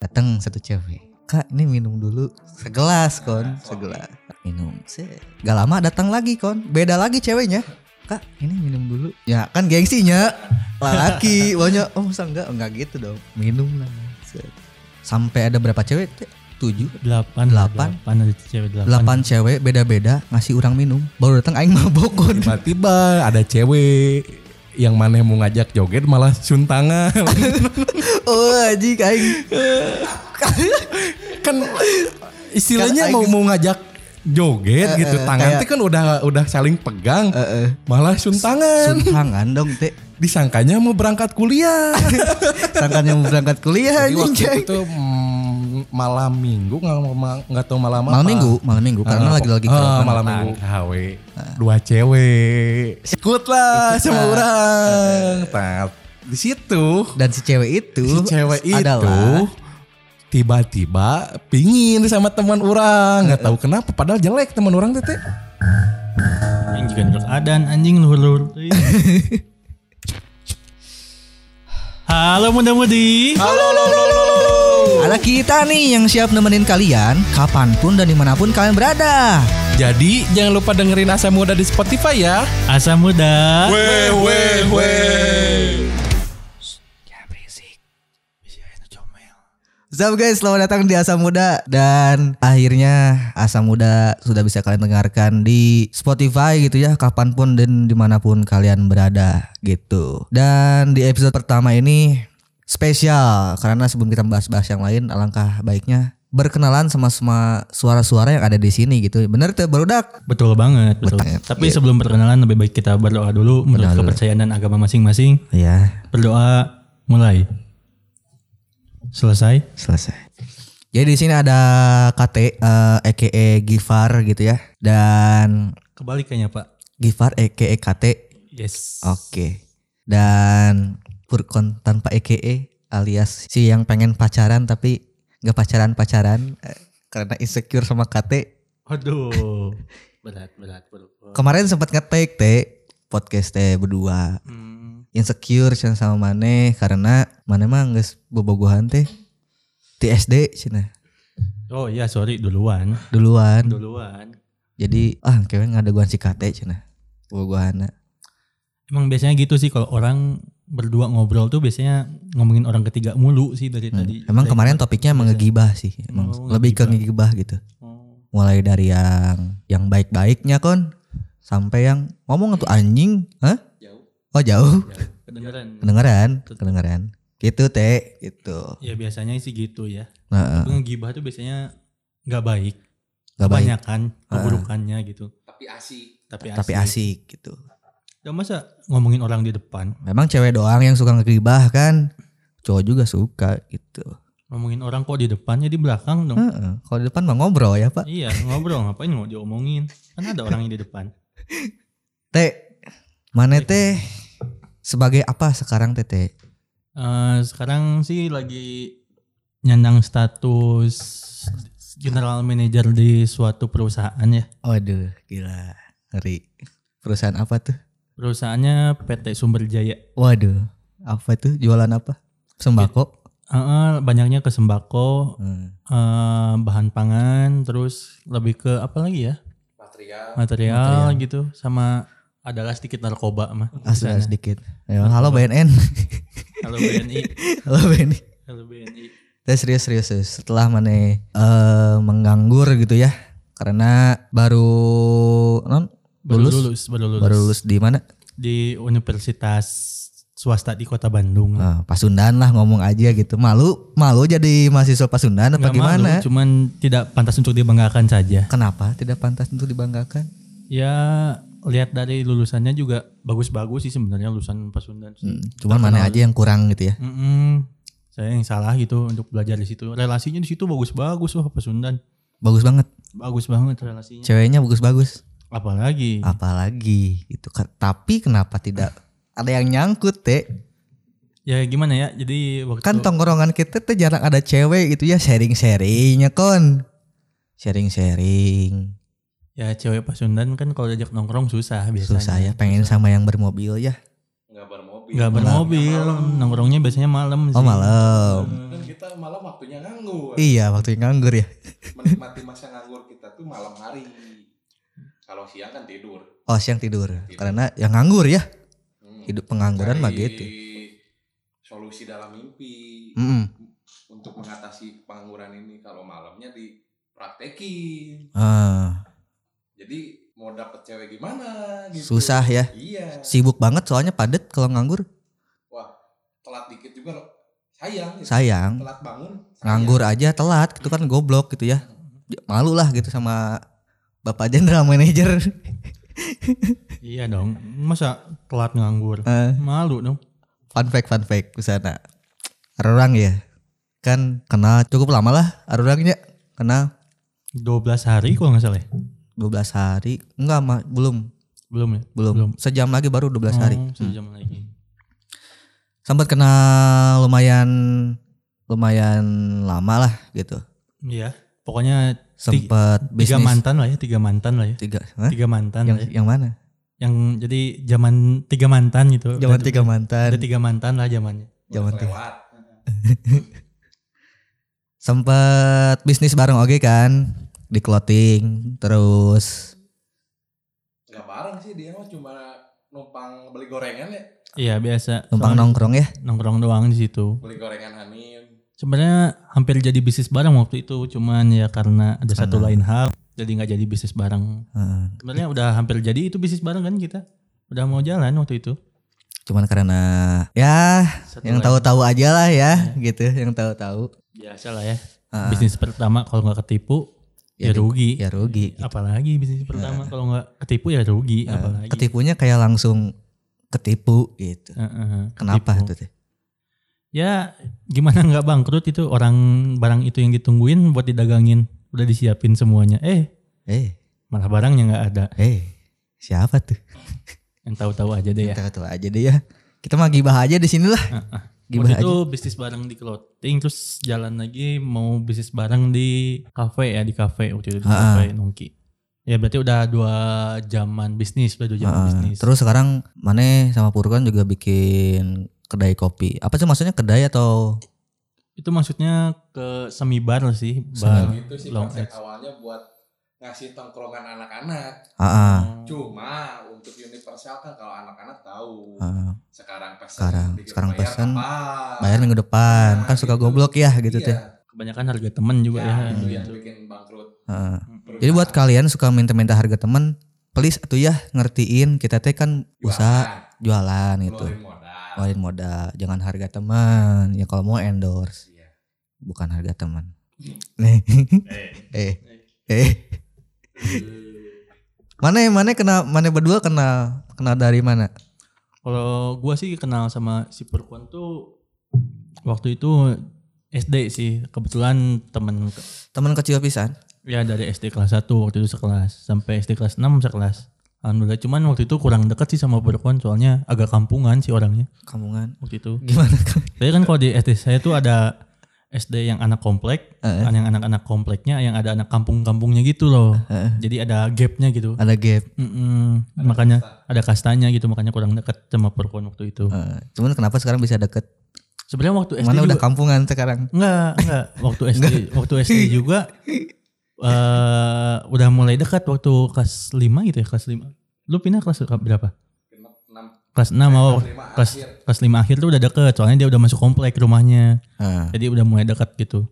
datang satu cewek kak ini minum dulu segelas kon segelas minum set. gak lama datang lagi kon beda lagi ceweknya kak ini minum dulu ya kan gengsinya laki banyak oh masa enggak enggak gitu dong minum lah set. sampai ada berapa cewek Teh? tujuh delapan Delapan. delapan ada cewek delapan delapan cewek beda-beda ngasih orang minum baru datang aing mabok kon Tiba-tiba ada cewek yang mana mau ngajak joget malah suntangan. oh anjing aing kan istilahnya Kan mau aing- mau ngajak joget gitu. Tangan kayak- teh kan udah udah saling pegang. Heeh. Malah suntangan. suntangan dong teh Disangkanya mau berangkat kuliah. sangkan yang mau berangkat kuliah Jadi anjing waktu ceng. itu mm, malam minggu nggak mau- ma- nggak tahu malam apa. malam minggu malam minggu karena Ah, lagi lagi ah, malam minggu KW dua cewek ikut lah sama orang Nah, di situ dan si cewek itu si cewek adalah itu tiba-tiba pingin sama teman orang nggak tahu kenapa padahal jelek teman orang tete yang juga nurut adan anjing luhur luhur halo muda mudi halo halo halo ada kita nih yang siap nemenin kalian kapanpun dan dimanapun kalian berada jadi jangan lupa dengerin asam muda di Spotify ya asa muda weh weh weh What's up guys, selamat datang di Asam Muda Dan akhirnya Asam Muda sudah bisa kalian dengarkan di Spotify gitu ya Kapanpun dan dimanapun kalian berada gitu Dan di episode pertama ini spesial Karena sebelum kita bahas-bahas yang lain alangkah baiknya Berkenalan sama semua suara-suara yang ada di sini gitu Bener tuh baru dak Betul banget, betul. Betul. Tapi sebelum perkenalan lebih baik kita berdoa dulu menurut kepercayaan dan agama masing-masing. Ya Iya. Berdoa mulai. Selesai. selesai Jadi di sini ada KT eh, EKE Gifar gitu ya Dan Kebalikannya, Pak. Gifar EKE KT Yes. E Oke. Dan Furkon tanpa EKE alias si yang pengen pacaran tapi nggak pacaran-pacaran eh, karena insecure sama KT. Aduh. berat, berat, berat. Kemarin sempat ngetek teh podcast teh berdua Hmm. insecure Cen, sama Mane karena Mane mah nggak bobogohan teh di SD cina Oh iya, sorry duluan. Kan. duluan. Duluan. Jadi ah kayaknya nggak ada guan si KT cina bobogohana. Emang biasanya gitu sih kalau orang berdua ngobrol tuh biasanya ngomongin orang ketiga mulu sih dari tadi. Hmm. Emang Dari- kemarin topiknya emang ngegibah sih, emang Oh, lebih ke ngegibah gitu. Oh. mulai dari yang yang baik-baiknya kon sampai yang ngomong tuh anjing Hah? Jauh. oh jauh ya, Kedengeran. kedengeran kedengeran gitu teh gitu Ya biasanya sih gitu ya. nah, eh, Tapi ngegibah tuh biasanya nggak baik. nggak baik Ah. kebanyakan keburukannya gitu. Tapi asik. tapi asik gitu Dan masa ngomongin orang di depan, memang cewek doang yang suka ngegibah kan cowok juga suka gitu ngomongin orang kok di depannya di belakang dong. Heeh. kalau di depan mah ngobrol ya pak Iya ngobrol ngapain mau diomongin? Kan ada orang yang di depan. teh mana teh sebagai apa sekarang teh teh Eh, sekarang sih lagi nyandang status general manager di suatu perusahaan ya. waduh gila ngeri perusahaan apa tuh Perusahaannya PT Sumber Jaya. waduh apa tuh jualan apa sembako Eh, eh, banyaknya ke sembako, Hmm. eh, bahan pangan, terus lebih ke apa lagi ya? material material, gitu sama adalah sedikit narkoba mah. Ah, sudah sedikit. Ya, halo BNN. Halo BNI, halo BNN. halo BNI. Saya serius, serius serius. Setelah mana eh, menganggur gitu ya. Karena baru non Baru Lulus? lulus, baru lulus. baru lulus di mana? di universitas swasta di Kota Bandung. Nah, lah. Pasundan lah ngomong aja gitu. Malu, malu jadi mahasiswa Pasundan apa Nggak gimana? malu, cuman tidak pantas untuk dibanggakan saja. Kenapa tidak pantas untuk dibanggakan? Ya lihat dari lulusannya juga bagus-bagus sih sebenarnya lulusan Pasundan. Hmm, cuman mana aja yang kurang gitu ya. Mm-mm. Saya yang salah gitu untuk belajar di situ. Relasinya di situ bagus-bagus wah Pasundan. Bagus banget. Bagus banget relasinya. Ceweknya bagus-bagus. Apalagi Ah. Apalagi itu tapi kenapa tidak ada yang nyangkut, Teh? ya gimana ya? Jadi waktu kan tongkrongan kita tuh jarang ada cewek gitu ya sharing-sharingnya kon sharing-sharing Ya cewek Pasundan kan kalau diajak nongkrong susah biasanya. gitu. susah ya pengen sama yang bermobil ya nggak bermobil Nggak bermobil, nongkrongnya biasanya malam oh malam kan kita malam waktunya nganggur. Iya waktu nganggur ya. Menikmati masa nganggur kita tuh malam hari. Kalau siang kan tidur. Oh siang tidur. Karena yang nganggur ya. Hmm. Hidup pengangguran mah Cari gitu. Hmm. Solusi dalam mimpi Mm-mm. untuk mengatasi pengangguran ini kalau malamnya dipraktekin. Ah, Jadi mau dapet cewek gimana gitu. susah ya. Iya. Sibuk banget soalnya padet kalau nganggur. Telat dikit juga loh. Sayang. gitu. Sayang. Telat bangun. sayang. Nganggur Iya. aja telat gitu kan goblok gitu ya. Ya, Malu lah gitu sama Bapak Jenderal Manager. Iya dong. Masa telat nganggur? Eh. Malu dong. fun fact fun fact busana Arurang ya kan kenal cukup lama lah Arurangnya kenal 12 hari kalau nggak salah ya? 12 hari enggak mah belum Belum ya? belum Belum. sejam lagi baru 12 hari Hmm. Oh, sejam lagi. sempat kenal lumayan lumayan lama lah gitu Iya. Pokoknya sempat tiga bisnis mantan lah ya, tiga mantan lah ya. tiga Hah? Tiga mantan yang lah ya. yang mana Yang jadi zaman tiga mantan gitu. zaman Ada- tiga mantan Ada tiga mantan lah zamannya. zaman tiga Lewat. sempat bisnis bareng oke kan di clothing terus Gak bareng sih dia mah cuma numpang beli gorengan ya. Iya, biasa. numpang Soalnya nongkrong ya nongkrong doang di situ. Beli gorengan Hanim. Sebenarnya hampir jadi bisnis bareng waktu itu, cuman ya karena ada satu Karena- lain hal jadi nggak jadi bisnis bareng. Heeh. Sebenarnya udah hampir jadi itu bisnis bareng kan kita. Udah mau jalan waktu itu. cuman karena ya Satu yang lain- tahu-tahu aja lah ya gitu yang tahu-tahu biasa lah ya. Ah. Iya. Bisnis pertama kalau nggak ketipu Ya ya, di- rugi. ya rugi gitu. Ah. Apalagi bisnis pertama kalau nggak ketipu ya rugi. apalagi. ketipunya kayak langsung ketipu gitu Heeh, kenapa ah, ketipu. tuh teh Ya gimana nggak bangkrut itu orang barang itu yang ditungguin buat didagangin udah disiapin semuanya. Eh eh malah barangnya nggak ada. eh siapa tuh Yang tahu-tahu aja deh ya. tahu-tahu aja deh ya kita mah gibah aja di sini lah gibah Waktu aja itu bisnis barang di clothing terus jalan lagi mau bisnis barang di cafe ya di cafe waktu itu di Ah, cafe Nongki. Ya berarti udah dua jaman bisnis, udah dua jaman Heeh. bisnis. terus sekarang Mane sama Purkan juga bikin kedai kopi apa sih maksudnya kedai atau itu maksudnya ke semi bar sih, Semi bar Gitu sih long konsep edge. awalnya buat ngasih tongkrongan anak-anak. ah Cuma untuk universal kan kalau anak-anak tahu. ah, Sekarang pesen. Sekarang- dikit sekarang bayar pesen, kapan? bayar minggu depan Nah, kan suka gitu. goblok ya gitu Iya, teh Kebanyakan harga temen juga ya. itu yang gitu. bikin bangkrut. Heeh. perusahaan. Eh, Jadi buat kalian suka minta-minta harga temen, please atuh ya ngertiin kita teh kan usaha jualan Jualan, gitu. keluarin modal. Ngeluarin modal, jangan harga teman. Ya kalau mau endorse, Iya. bukan harga teman. Nih. eh. Eh. Iya. Mana ya, mana kena mana berdua kenal kenal dari mana? Kalau gua sih kenal sama si Perkuan tuh waktu itu SD sih. Kebetulan temen ke- Teman kecil pisan. ya dari SD kelas 1 waktu itu sekelas sampai SD kelas 6 sekelas. Alhamdulillah cuman waktu itu kurang deket sih sama Perkuan soalnya agak kampungan sih orangnya Kampungan. waktu itu. Gimana? Kang? Tapi kan kalau di SD saya tuh ada SD yang anak komplek, Heeh. yang anak-anak kompleknya yang ada anak kampung-kampungnya gitu loh. Heeh. Jadi ada gapnya gitu. Ada gap. Mm-mm. makanya ada kastanya gitu makanya kurang dekat sama perempuan waktu itu. Eh, cuman kenapa sekarang bisa deket? Sebenarnya waktu SD Mana juga, udah kampungan sekarang? enggak, enggak. Waktu SD, waktu SD juga eh udah mulai dekat waktu kelas 5 gitu ya, kelas 5. Lu pindah kelas berapa? Lima- Nah, enam, Kelas 6 awal lima kelas akhir. kelas 5 akhir tuh udah deket soalnya dia udah masuk komplek rumahnya. Heeh. Jadi udah mulai dekat gitu.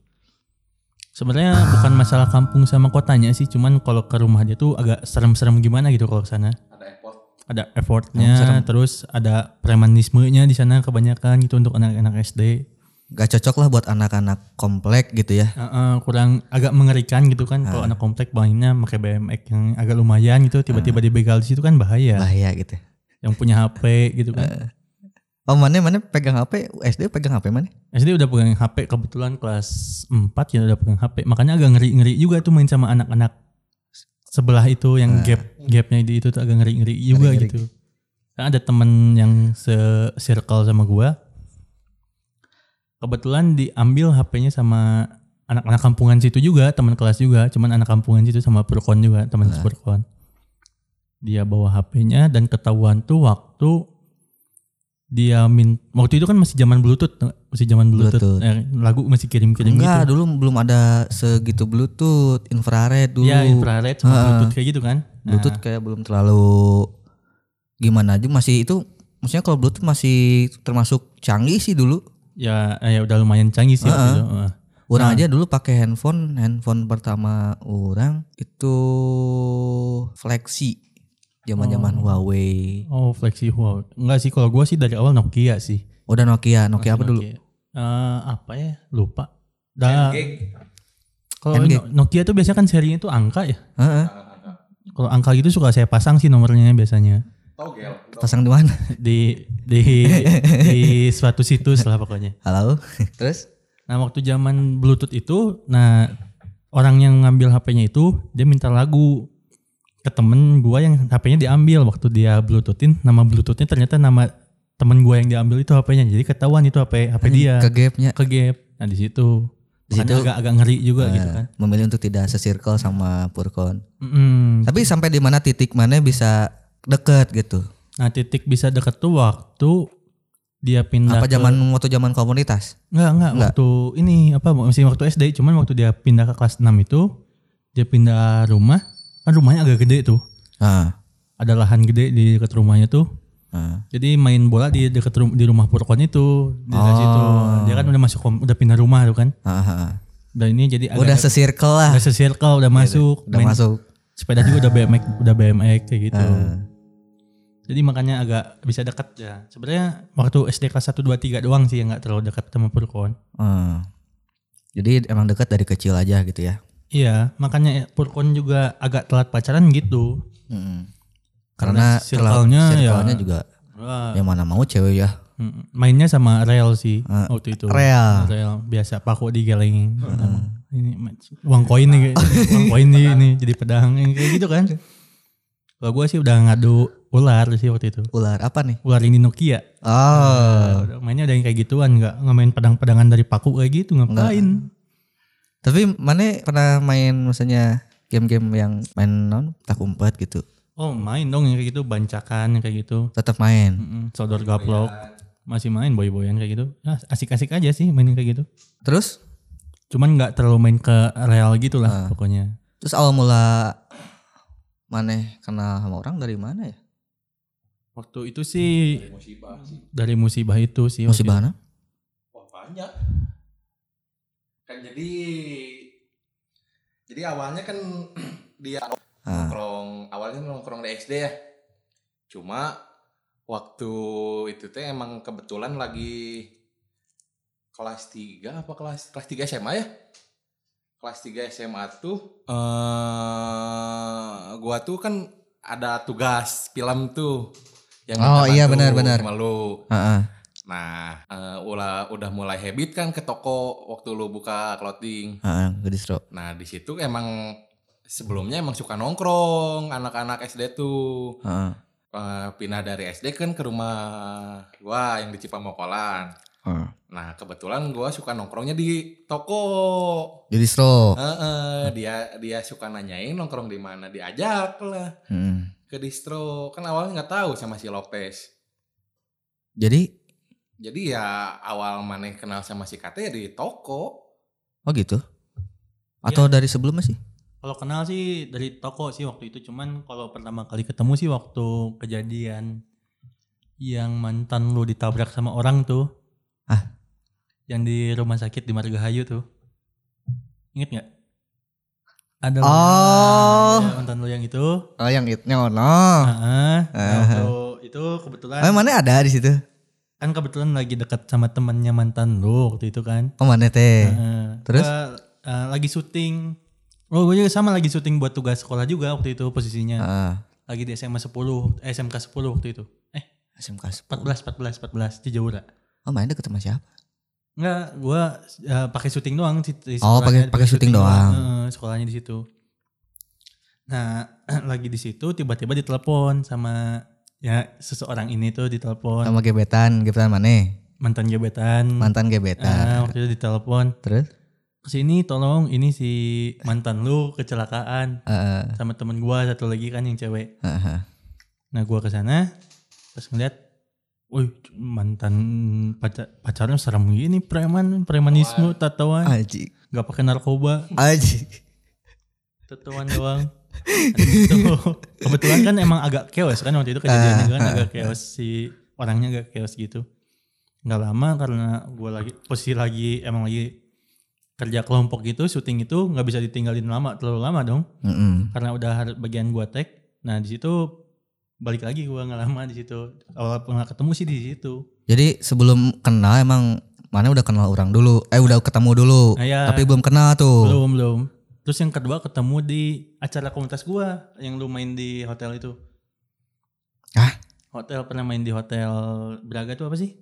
Sebenarnya bukan masalah kampung sama kotanya sih, cuman kalau ke rumah dia tuh agak serem-serem gimana gitu kalau ke sana. ada effort. ada effortnya terus ada premanismenya di sana kebanyakan gitu untuk anak-anak SD Gak cocok lah buat anak-anak komplek gitu ya. Eh, eh, kurang agak mengerikan gitu kan kalau anak komplek mainnya pakai BMX yang agak lumayan gitu tiba-tiba dibegal di situ kan bahaya Bahaya gitu. yang punya HP gitu kan Oh mana mana pegang HP SD pegang HP mana? SD udah pegang HP kebetulan kelas 4 ya udah pegang HP makanya agak ngeri-ngeri juga tuh main sama anak-anak sebelah itu yang gap gapnya di itu tuh agak ngeri-ngeri juga Ngeri-ngeri. gitu Nah, ada temen yang se-circle sama gua. Kebetulan diambil HP-nya sama anak-anak kampungan situ juga, teman kelas juga, cuman anak kampungan situ sama Purkon juga, teman Nah. Purkon. Dia bawa HP-nya dan ketahuan tuh waktu dia min waktu itu kan masih zaman bluetooth tuh, masih zaman bluetooth, Bluetooth. Eh, lagu masih kirim-kirim Enggak, gitu dulu belum ada segitu Bluetooth, infrared dulu. ya infrared sama Heeh. bluetooth kayak gitu kan Nah, Bluetooth kayak belum terlalu gimana aja masih itu maksudnya kalau Bluetooth masih termasuk canggih sih dulu. ya eh, ya udah lumayan canggih sih waktu Heeh. itu. Heeh. Nah. Orang aja dulu pakai handphone, handphone pertama orang itu Flexi. Zaman-zaman Huawei. oh flexi wow enggak sih kalau gua sih dari awal Nokia sih Udah Nokia, Nokia apa dulu? Nokia. Eh, apa ya lupa Ah. dah Geng. kalau NG. No- Nokia tuh biasanya kan serinya tuh angka ya Heeh, kalau angka gitu suka saya pasang sih nomornya biasanya Togel. pasang di mana? di di di suatu situs lah pokoknya Halo. Terus Nah waktu zaman Bluetooth itu, nah orang yang ngambil HP-nya itu dia minta lagu ke temen gua yang HP-nya diambil waktu dia Bluetoothin. Nama Bluetoothnya ternyata nama temen gua yang diambil itu HP-nya. Jadi ketahuan itu HP HP dia Hmm, ke gapnya ke gap. Nah di situ Di Makanya situ- agak-agak ngeri juga gitu kan. Nah, memilih untuk tidak sesirkel sama Purkon. Mm-mm. Tapi sampai di mana titik mana bisa deket gitu? Nah titik bisa deket tuh waktu dia pindah Apa ke- zaman waktu zaman komunitas? Enggak, enggak, Enggak. Waktu ini apa masih waktu SD, cuman waktu dia pindah ke kelas 6 itu dia pindah rumah. Kan rumahnya agak gede tuh. Ah, Ada lahan gede di dekat rumahnya tuh. ah. Jadi main bola di dekat rum- di rumah Purkon itu, di daerah Oh. situ. Dia kan udah masuk kom- udah pindah rumah tuh kan. Ah, ah, ah. Dan ini jadi Udah agak sesirkel lah. udah circle udah masuk, Udah main masuk. sepeda juga udah BMX, udah BMX kayak gitu. Ah. Jadi makanya agak bisa dekat ya. Sebenarnya waktu SD kelas 1 2 3 doang sih yang enggak terlalu dekat sama Purkon. Ah. Jadi emang dekat dari kecil aja gitu ya. Iya, makanya Purkon juga agak telat pacaran gitu. Mm-mm. Hmm. Karena circle-nya ya- circle-nya juga Wah, yang mana mau cewek ya. mm, Mainnya sama rel sih waktu itu. Real. Rel, biasa paku digelengin. Ini Eh. uang koin nih, kayak- uang koin nih ini jadi pedang yang kayak gitu kan. Kalau gue sih udah ngadu ular sih waktu itu. Ular apa nih? Ular ini Nokia. Oh. Nah, udah- mainnya ada yang kayak gituan nggak nggak main pedang-pedangan dari paku kayak gitu ngapain? Tapi mana pernah main misalnya game-game yang main non tak umpet gitu. Oh main dong yang kayak gitu bancakan yang kayak gitu. Tetap main. Mm-mm, sodor gaplok masih main boy-boyan kayak gitu Ah, asik-asik aja sih main kayak gitu Terus cuman nggak terlalu main ke real gitu Ah. lah pokoknya terus awal mula maneh kenal sama orang dari mana ya? waktu itu sih Musibah sih. dari musibah itu sih waktu Masih bahana? Wah banyak. Kan jadi jadi awalnya kan dia Ah. nongkrong awalnya nongkrong di SD ya. Cuma waktu itu teh emang kebetulan lagi kelas 3 apa kelas kelas 3 SMA ya? Kelas 3 SMA tuh eh gua tuh kan ada tugas film tuh yang Oh, minta iya, bantu benar-benar. sama lu. Ah, ah. Nah, eh, ulah udah mulai habit kan ke toko waktu lu buka clothing. Ah, ah, ke distro. Nah, di situ emang sebelumnya emang suka nongkrong anak-anak SD tuh. Ah, ah. Eh, pindah dari SD kan ke rumah gua yang di Cipamokolan. Ah. Nah, kebetulan gua suka nongkrongnya di toko. Di distro. Eh, eh, dia dia suka nanyain nongkrong di mana, diajak lah Mm. ke distro. Kan awalnya nggak tahu sama si Lopez. Jadi Jadi ya awal maneh kenal sama si Kate ya di toko. oh gitu. Atau dari sebelumnya sih? kalau kenal sih dari toko sih waktu itu cuman kalau pertama kali ketemu sih waktu kejadian yang mantan lu ditabrak sama orang tuh Ah. yang di rumah sakit di Margahayu tuh inget nggak ada Oh. ya, mantan lu yang itu Oh, yang itu. Oh, no. Heeh. Nah, Heeh. waktu itu kebetulan Ah. Eh, mana ada di situ? kan kebetulan lagi dekat sama temannya mantan lu waktu itu kan. Oh, mana teh? Heeh. terus? Gua, eh, lagi syuting. Oh, gue juga sama lagi syuting buat tugas sekolah juga waktu itu posisinya. Heeh. Lagi di SMA 10, eh, SMK 10 waktu itu. Eh, SMK 10. 14 14 14 Cijaura. Oh, main deket sama siapa? Enggak, gua eh, pakai syuting doang di- di Oh, pakai- sekolahnya, pakai syuting doang. Heeh, sekolahnya di situ. Nah, lagi di situ tiba-tiba ditelepon sama ya seseorang ini tuh ditelepon Sama gebetan, gebetan mana? mantan gebetan. Mantan Ah, gebetan. waktu itu ditelepon Terus? kesini tolong ini si mantan lu kecelakaan Heeh. sama temen gua satu lagi kan yang cewek Heeh. nah gua kesana terus ngeliat Wih, mantan pacar, pacarnya serem gini preman, premanisme, tatoan, ah. Aji. nggak pakai narkoba, Aji. tatoan doang. Gitu. Kebetulan kan emang agak chaos kan waktu itu kejadiannya kan agak chaos si orangnya agak chaos gitu. Nggak lama karena gua lagi posisi lagi emang lagi kerja kelompok gitu, syuting itu nggak bisa ditinggalin lama, terlalu lama dong Mm-mm. karena udah har- bagian gua tag. Nah, di situ balik lagi gua nggak lama di situ. Awal pernah ketemu sih di situ. Jadi sebelum kenal emang mana udah kenal orang dulu. Eh udah ketemu dulu. Nah, ya, Tapi belum kenal tuh. belum belum. Terus yang kedua ketemu di acara komunitas gua yang lu main di hotel itu. Hah? Hotel pernah main di hotel Braga tuh apa sih?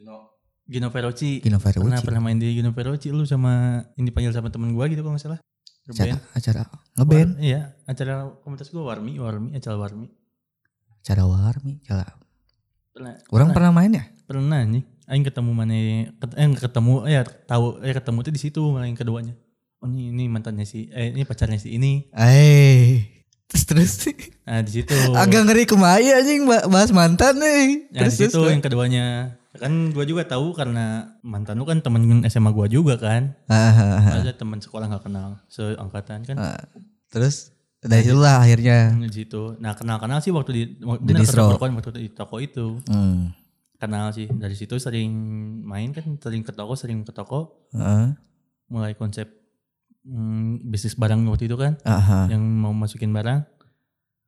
You know, Gino Ferrucci. Gino Ferrucci. Pernah pernah main di Gino Ferrucci lu sama yang dipanggil sama temen gua gitu kalau nggak salah. Acara, Ngeband. acara ngeband, War- Iya, acara komunitas gua Warmi, Warmi, acara Warmi. acara warmi, acara. Pernah. Orang pernah pernah. main ya? pernah nih aing ketemu mana ket, eh ketemu eh tahu eh ketemu tuh di situ malah yang keduanya oh ini, ini mantannya si eh ini pacarnya si ini Eh. Terus terus nah di situ agak ngeri kemaya anjing ba- bahas mantan nih. nah di Terus terus. situ yang keduanya kan gua juga tahu karena mantan lu kan temen SMA gua juga kan Ah, ah, ah. ada teman sekolah nggak kenal seangkatan kan Terus dari situlah akhirnya. di situ nah kenal kenal sih waktu di Di bener distro. kata Korkon waktu di toko itu Hmm. kenal sih dari situ sering main kan sering ke toko sering ke toko Heeh. mulai konsep mm, bisnis barang waktu itu kan Aha. yang mau masukin barang.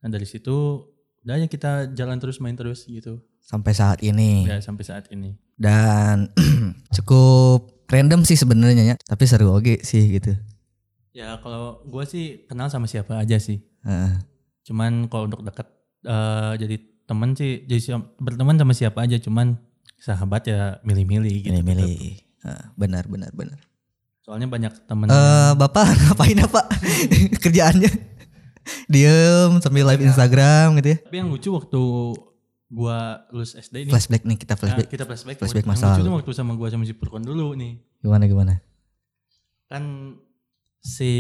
Nah dari situ udah ya kita jalan terus main terus gitu. Sampai saat ini. Ya sampai saat ini. Dan cukup random sih sebenarnya ya, tapi seru oke sih gitu. Ya kalau gue sih kenal sama siapa aja sih. Heeh. Cuman kalau untuk dekat eh, jadi temen sih jadi siap- berteman sama siapa aja cuman sahabat ya milih-milih gitu. milih-milih. Heeh, benar benar benar. Soalnya banyak temen. Eh Bapak ngapain apa kerjaannya? Diem sambil Iya. live Instagram gitu ya. Tapi yang lucu waktu gua lulus SD ini Flashback nih kita nah, flashback. kita flashback. Flashback yang masa lucu lalu. tuh waktu sama gua sama si Purkon dulu nih. Gimana gimana? kan si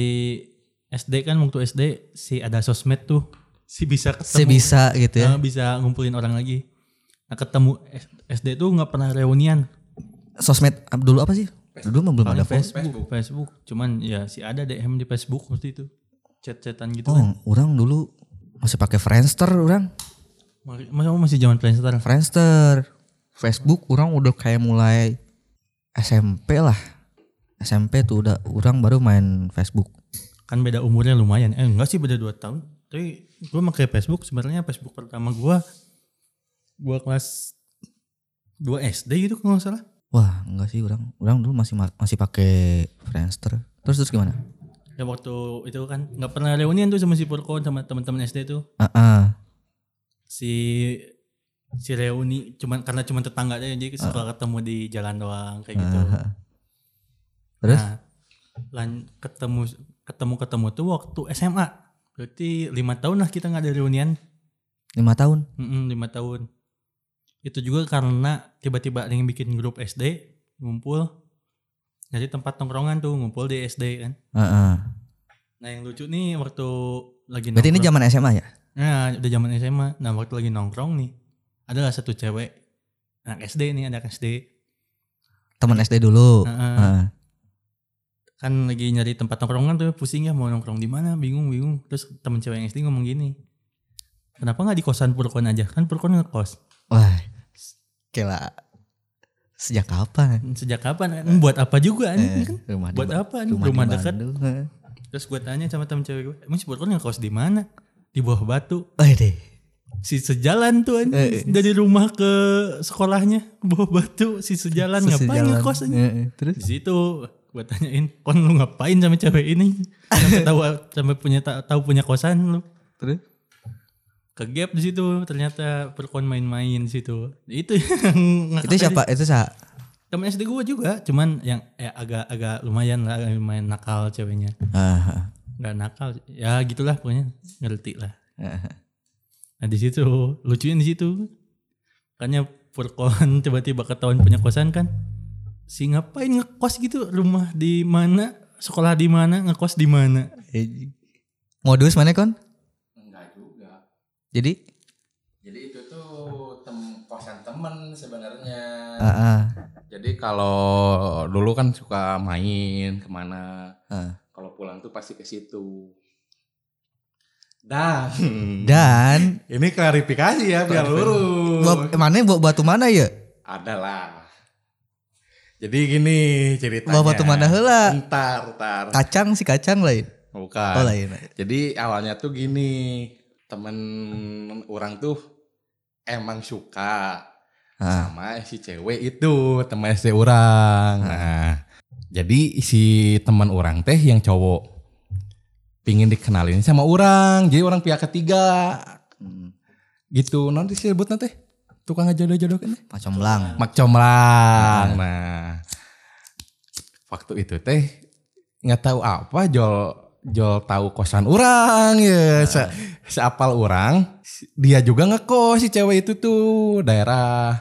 SD kan waktu SD si ada sosmed tuh si bisa ketemu Saya bisa gitu ya. Nah, bisa ngumpulin orang lagi nah ketemu S- SD tuh nggak pernah reunian Sosmed ab- dulu apa sih? Dulu mah belum ada Paling Facebook. Facebook, Facebook Facebook. cuman ya si ada DM di Facebook waktu itu chat-chatan gitu kan Oh, orang dulu masih pakai Friendster orang. Mari- masa masih zaman Friendster Friendster. Facebook orang udah kayak mulai SMP lah. SMP tuh udah orang baru main Facebook. kan beda umurnya lumayan eh enggak sih beda 2 tahun tapi gue pakai Facebook sebenarnya Facebook pertama gua gua kelas 2 SD gitu kalau nggak salah Wah, enggak sih orang. Orang dulu masih ma- masih pakai Friendster. Terus terus gimana? Ya waktu itu kan nggak pernah reunian tuh sama si Purkon sama teman-teman SD tuh. Heeh. Si si reuni cuman karena cuman tetangga aja jadi suka ketemu di jalan doang kayak gitu. Aha. Terus? Nah, lan ketemu ketemu ketemu tuh waktu SMA. Berarti lima tahun lah kita nggak ada reunian. Lima tahun. Mm-mm, lima tahun. Itu juga karena tiba-tiba ada yang bikin grup SD ngumpul. Jadi tempat tongkrongan tuh ngumpul di SD kan. Heeh. Nah yang lucu nih waktu lagi Berarti ini nongkrong- zaman SMA ya? Nah, udah zaman SMA. Nah, waktu lagi nongkrong nih, adalah satu cewek anak SD nih, anak SD. Teman SD dulu. Heeh. Heeh. Kan lagi nyari tempat nongkrongan tuh pusing ya mau nongkrong di mana, bingung-bingung. Terus temen cewek yang SD ngomong gini. Kenapa nggak di kosan Purkon aja? Kan Purkon ngekos. Wah. Kela. Sejak kapan? Sejak kapan? kan? Buat apa juga Eh, nih? kan? rumah Buat Ba- apa? Rumah, rumah di dekat. Bandung, heeh. Terus gue tanya sama temen cewek gue, emang si Purkon ngekos di mana? Di bawah batu. Wah deh. Si sejalan tuh anjing. Eh, eh. dari rumah ke sekolahnya ke bawah batu si sejalan, Kan ngapain Sejalan. Eh. ngekos anjing? Heeh, Terus? di situ gue tanyain kon lu ngapain sama cewek ini sampai tahu sampai punya ta- tahu punya kosan lu Terus? ke gap di situ ternyata perkon main-main di situ itu yang Itu ngakak siapa? Itu sa temen SD gue juga cuman yang eh, agak agak lumayan lah agak lumayan nakal ceweknya Aha. nggak nakal ya gitulah pokoknya ngerti lah Aha. nah di situ lucunya di situ makanya perkon tiba-tiba ketahuan punya kosan kan si ngapain ngekos gitu rumah di mana sekolah di mana ngekos di mana Eh, Modus mana kon? enggak juga. Jadi Jadi itu tuh tem temen sebenarnya. Heeh. Jadi kalau dulu kan suka main kemana. Ah. Kalau pulang tuh pasti ke situ. Dan, Hmm. Dan Ini klarifikasi ya biar lurus. Bob, Oh. mana Bob batu mana ya? adalah. Jadi gini ceritanya. Bob batu mana heula? Ntar, ntar. Kacang si kacang lain. Bukan. Oh Ah. lain. Jadi awalnya tuh gini, temen orang tuh emang suka Ah. sama si cewek itu teman si orang. Nah, jadi si teman orang teh yang cowok pingin dikenalin sama orang, jadi orang pihak ketiga Hmm. gitu. Nanti si rebut nanti tukang jodoh-jodohkan Pak Comblang. Mak Comlang. Nah, waktu itu teh nggak tahu apa Jol Jol tahu kosan orang Eh, Hmm. ya, se seapal orang. Si- Dia juga ngekos si cewek itu tuh daerah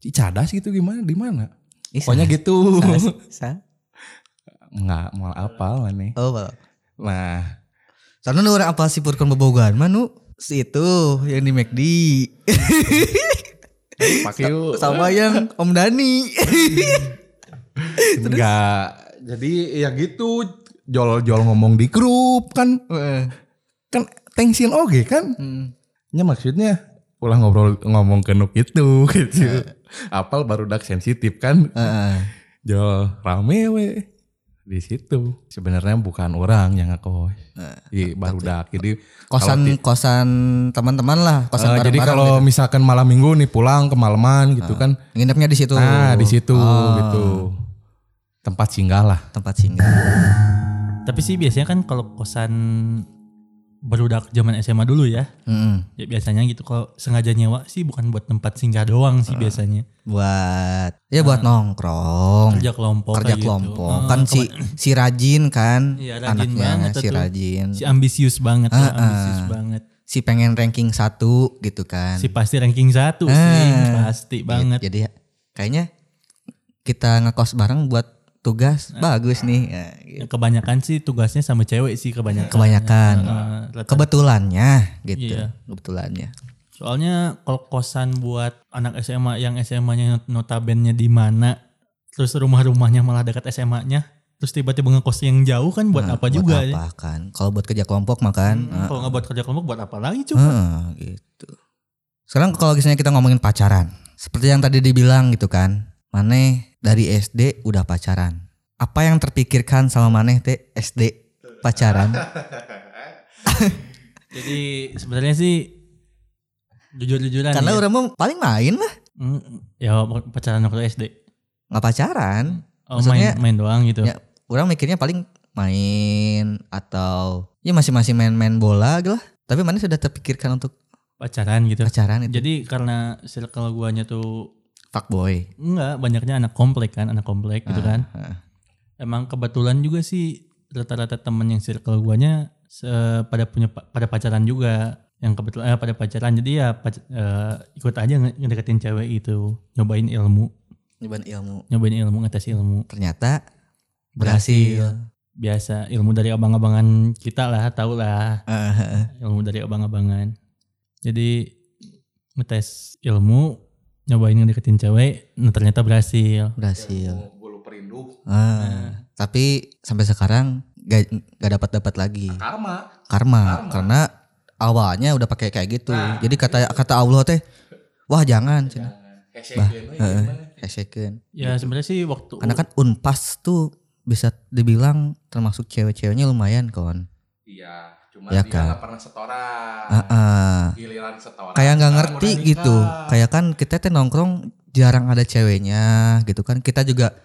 Cicadas gitu gimana di mana? Ih, Pokoknya gitu. sa- sa- Nggak mau apal nih. Oh, Pak. Nah, Soalnya nu orang apa sih purkan bobogan manu si itu yang di McD pakai yuk. sama yang Om Dani. Nggak. Jadi ya gitu. Jol Jol ngomong di grup kan Heeh. kan tensin oge kan. Hmm. Ya maksudnya ulah ngobrol ngomong ke nuk itu gitu. Apal baru dak sensitif kan. Heeh. Jol rame we di situ. Sebenarnya bukan orang yang ngekos. Di baru dak. Jadi Nah, kosan kalau ti- kosan teman-teman lah kosan Ah, eh, jadi bareng-bareng ya? kalau misalkan malam minggu nih pulang kemalaman gitu kan. gitu. nginepnya di situ Ah, Nah, di situ Oh, gitu. Tempat singgah lah. tempat singgah Tapi sih biasanya kan kalau kosan berudak zaman SMA dulu ya. Mm-mm. Ya biasanya gitu kalau sengaja nyewa sih bukan buat tempat singgah doang sih biasanya. buat ya buat nongkrong Kerja kelompok kerja kayak gitu. kelompok Ah, kan si si rajin kan Iya, rajin anaknya banget si tuh. rajin si ambisius banget, Ah, lah, ah. ambisius banget. si pengen ranking satu gitu kan Si pasti ranking satu sih, Ah. pasti Gitu. banget. jadi kayaknya kita ngekos bareng buat tugas Nah. bagus nih Ya, Iya. gitu. Kebanyakan sih tugasnya sama cewek sih kebanyakan. kebanyakan Ah, rata- kebetulannya gitu Iya. kebetulannya Soalnya kalau kosan buat anak SMA yang SMA-nya notabennya di mana, terus rumah-rumahnya malah dekat SMA-nya, terus tiba-tiba ngekos yang jauh kan buat Nah, apa juga ya? apa Ah, kan kalau buat kerja kelompok makan Hmm, Kalau nggak buat kerja kelompok buat apa Ah. lagi cuy? Heeh, gitu. Sekarang kalau misalnya kita ngomongin pacaran, seperti yang tadi dibilang gitu kan, Maneh dari SD udah pacaran. Apa yang terpikirkan sama Maneh teh SD Iya. pacaran? Jadi sebenarnya sih jujur-jujuran Karena ya. orang mah paling main lah, Hmm, ya pacaran waktu SD. nggak pacaran. Oh, Maksudnya- main, main doang gitu. Ya, Orang mikirnya paling main atau ya masih-masih main-main bola gitu lah. Tapi Maneh sudah terpikirkan untuk Pacaran gitu. pacaran itu Jadi karena circle guanya tuh fuckboy. enggak banyaknya anak komplek kan, anak komplek gitu kan. heeh. Emang kebetulan juga sih rata-rata temen yang circle guanya se- pada punya pa- pada pacaran juga yang kebetulan eh, pada pacaran jadi ya pac- eh, ikut aja nge- ngedeketin cewek itu nyobain ilmu Nyobain ilmu. nyobain ilmu ngetes ilmu Ternyata berhasil. biasa ilmu dari abang-abangan kita lah tau lah Heeh, heeh. ilmu dari abang-abangan jadi ngetes ilmu nyobain ngedeketin cewek nah ternyata berhasil berhasil. Bulu perindu Ah, tapi sampai sekarang gak, gak dapat dapat lagi karma. karma, Karma. karena awalnya udah pakai kayak gitu. Nah, Jadi kata kata Allah teh, wah jangan, cenah. Bah, heeh. Hehehe, eh, gimana? Esekeun. ya sebenarnya sih waktu Iya. Karena kan unpas tuh bisa dibilang termasuk cewek-ceweknya lumayan kon. Iya, cuma Ya dia kan? nggak pernah setoran. Ah, ah. Giliran setoran. kayak nggak sekarang ngerti udah gitu. nikah. Kayak kan kita teh nongkrong jarang ada ceweknya gitu kan. Kita juga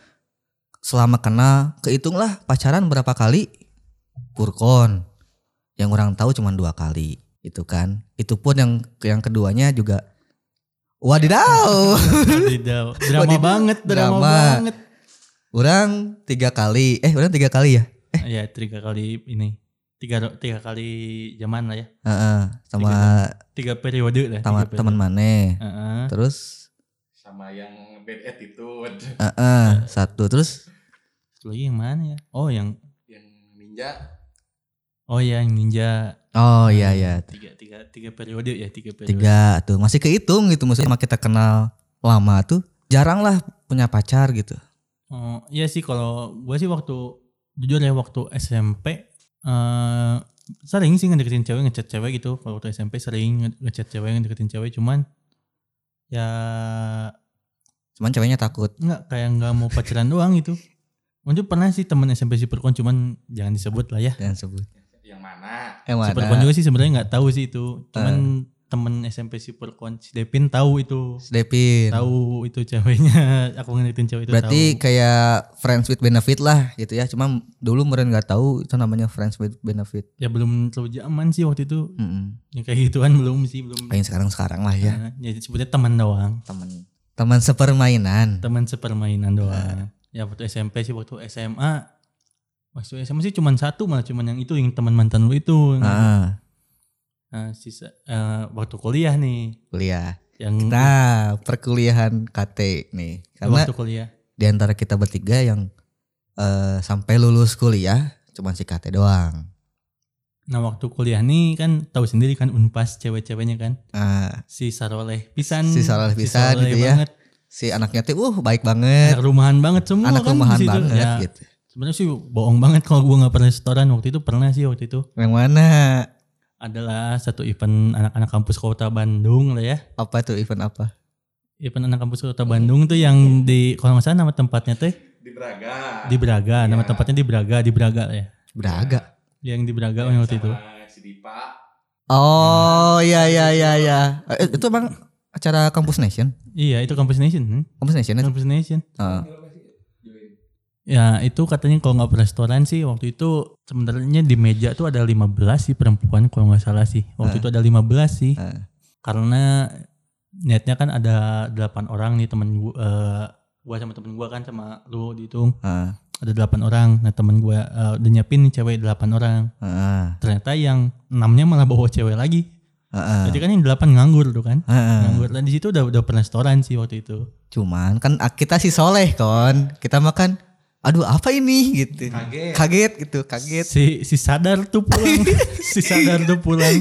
selama kenal kehitung lah pacaran berapa kali kurkon. Yang orang tahu cuma dua kali itu kan. Itu pun yang yang keduanya juga wadidaw. Wadidaw. Drama Wadidaw. banget, drama, kan- Drama. banget. orang tiga kali. Eh orang tiga kali ya? Ya tiga kali ini, tiga tiga kali zaman lah ya, Heeh, sama tiga periode lah. sama tiga periode. teman maneh. Heeh. Terus sama yang bad attitude heeh, satu terus Satu lagi yang mana ya? Oh yang yang ninja oh ya, yang ninja. oh iya iya Tiga tiga tiga periode ya tiga periode. tiga tuh masih kehitung gitu maksudnya sama kita kenal lama tuh jarang lah punya pacar gitu. Oh, iya sih kalau gue sih waktu jujur ya waktu SMP eh sering sih ngedeketin cewek ngechat cewek gitu Kalau waktu SMP sering nge- ngechat cewek ngedeketin cewek cuman ya Cuman ceweknya takut. nggak kayak nggak mau pacaran doang gitu Mungkin pernah sih temen SMP si Perkon cuman jangan disebut lah ya Jangan sebut. Yang mana? Yang Si mana? Eh. Perkon juga sih sebenarnya nggak tahu sih itu cuman temen SMP si Perkon si Devin tahu itu Si Devin. tahu itu ceweknya aku ngedeketin cewek itu Berarti tahu. kayak friends with benefit lah gitu ya. Cuma dulu meren nggak tahu itu namanya friends with benefit. ya belum terlalu zaman sih waktu itu Mm-mm. ya kayak gituan belum sih belum Paling sekarang sekarang lah ya Nah, ya sebutnya teman doang, teman teman sepermainan. teman sepermainan doang. Ya waktu SMP sih, waktu SMA, waktu SMA sih cuman satu malah cuman yang itu yang teman mantan lu itu. Ah, Nah, sisa eh, waktu kuliah nih, kuliah. yang Nah perkuliahan KT nih. Karena waktu kuliah. di antara kita bertiga yang eh, sampai lulus kuliah cuma si KT doang. Nah waktu kuliah nih kan tahu sendiri kan unpas cewek-ceweknya kan Ah, si Saroleh pisan, Si Saroleh pisan Saroleh gitu ya. banget. si anaknya tuh uh baik banget, anak rumahan banget semua anak kan Iya, di rumahan situ. banget Ya, gitu. Sebenarnya sih bohong banget kalau gua nggak pernah setoran waktu itu pernah sih waktu itu Yang mana? adalah satu event anak-anak kampus kota Bandung lah ya. Apa tuh event apa? event Iya, anak kampus kota Bandung tuh yang di kalau nggak salah nama tempatnya teh Di Braga. di Braga nama Iya. tempatnya di Braga di Braga ya Braga. yang di Braga Yang waktu itu sama Si Dipa. Oh ya ya ya ya. Eh, itu emang acara kampus nation, iya itu Campus Nation hmm? kampus nation itu. Campus Nation Heeh. Ah. ya itu katanya kalau nggak restoran sih waktu itu sebenarnya di meja tuh ada 15 sih perempuan kalau nggak salah sih waktu itu ada 15 sih Eh. karena niatnya kan ada 8 orang nih temen gua eh, gua sama temen gua kan sama lu dihitung Heeh. ada 8 orang nah temen gua eh, udah nyiapin nih cewek 8 orang Heeh. ternyata yang enamnya malah bawa cewek lagi. Heeh. Jadi kan yang delapan nganggur tuh kan. Heeh. Nganggur dan di situ udah udah pernah setoran sih waktu itu. ah. Cuman kan ah, kita sih soleh kon, kita makan. Aduh apa ini gitu. Kaget. Kaget gitu, kaget. Si si sadar tuh pulang. si sadar tuh pulang.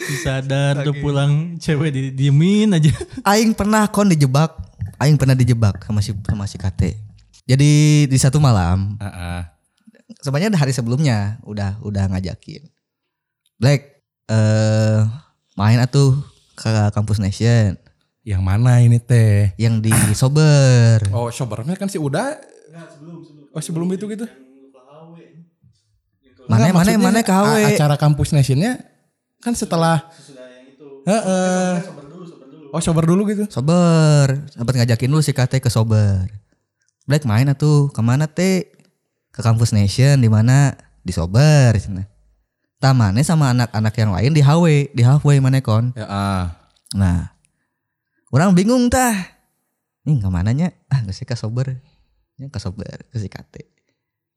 Si sadar tuh pulang cewek di diemin aja. Aing pernah kon dijebak, Aing pernah dijebak sama si sama si Kate. Jadi di satu malam, Heeh. sebenarnya hari sebelumnya udah udah ngajakin. Black eh main atuh ke kampus nation Yang mana ini teh? yang di Ah. sober. Oh, sobernya kan si Uda. Oh, sebelum itu gitu. Mana mana Enggak, maksudnya mana KW. a- Acara kampus nationnya kan setelah Heeh. Oh, sober dulu gitu. Sober, sempat ngajakin dulu si Kate ke sober. Black main atuh, kemana teh? Ke kampus Nation di mana? Di sober cina. Tamane sama anak-anak yang lain di HW, di halfway mana kon? Ya, ah. Nah, orang bingung tah. Ini kemananya? Ah, nggak sih ke sober. Ya, ke sober, ke si Kate.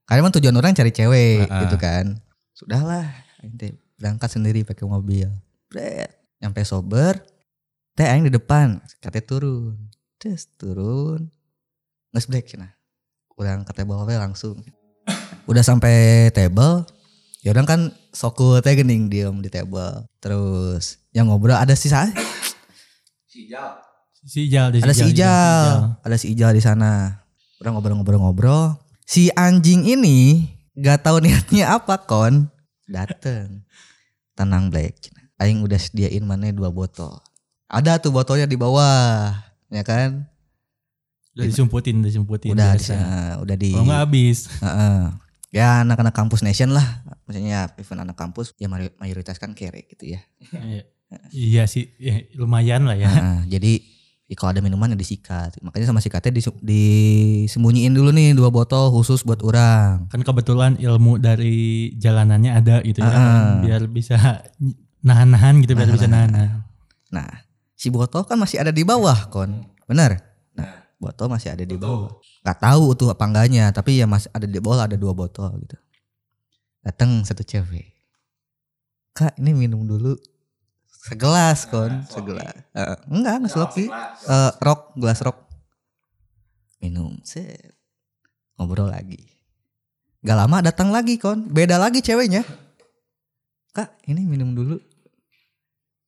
Karena emang tujuan orang cari cewek Heeh. gitu kan. Sudahlah, aing teh berangkat sendiri pakai mobil. Bret, nyampe sober, teh aing di depan, si Kate turun. Terus turun. Nges black cenah. Orang ke table we langsung. Udah sampai table, ya orang kan sokul teh gening diem di table. Terus yang ngobrol ada si sa- Si Ijal. Si Ijal ada si Ijal, ada si Ijal di sana. Orang ngobrol-ngobrol-ngobrol. Si anjing ini gak tahu niatnya apa kon. Dateng. Tenang Black. Aing udah sediain mana dua botol. Ada tuh botolnya di bawah, ya kan? Udah disumputin, udah disumputin. Udah di Oh, biasa. sana, udah di. Kalau nggak habis. Heeh. Ya anak-anak kampus nation lah, maksudnya event anak kampus ya mari- mayoritas kan kere gitu ya. Iya. Iya sih, ya, lumayan lah ya. Heeh, jadi ya kalau ada minuman ya disikat. Makanya sama sikatnya disu- disembunyiin dulu nih dua botol khusus buat orang. kan kebetulan ilmu dari jalanannya ada gitu ya Ah. biar bisa nahan-nahan gitu biar bisa nahan Nah, si botol kan masih ada di bawah, Kon. Benar? Nah, botol masih ada di bawah. Gak tahu tuh apa enggaknya, tapi ya masih ada di bawah ada dua botol gitu. Datang satu cewek. Kak, ini minum dulu segelas, Kon, segelas. Eh, enggak, enggak sloppy. Eh, rok, gelas rok. Minum, set. Ngobrol lagi. Gak lama datang lagi, Kon. Beda lagi ceweknya. Kak, ini minum dulu.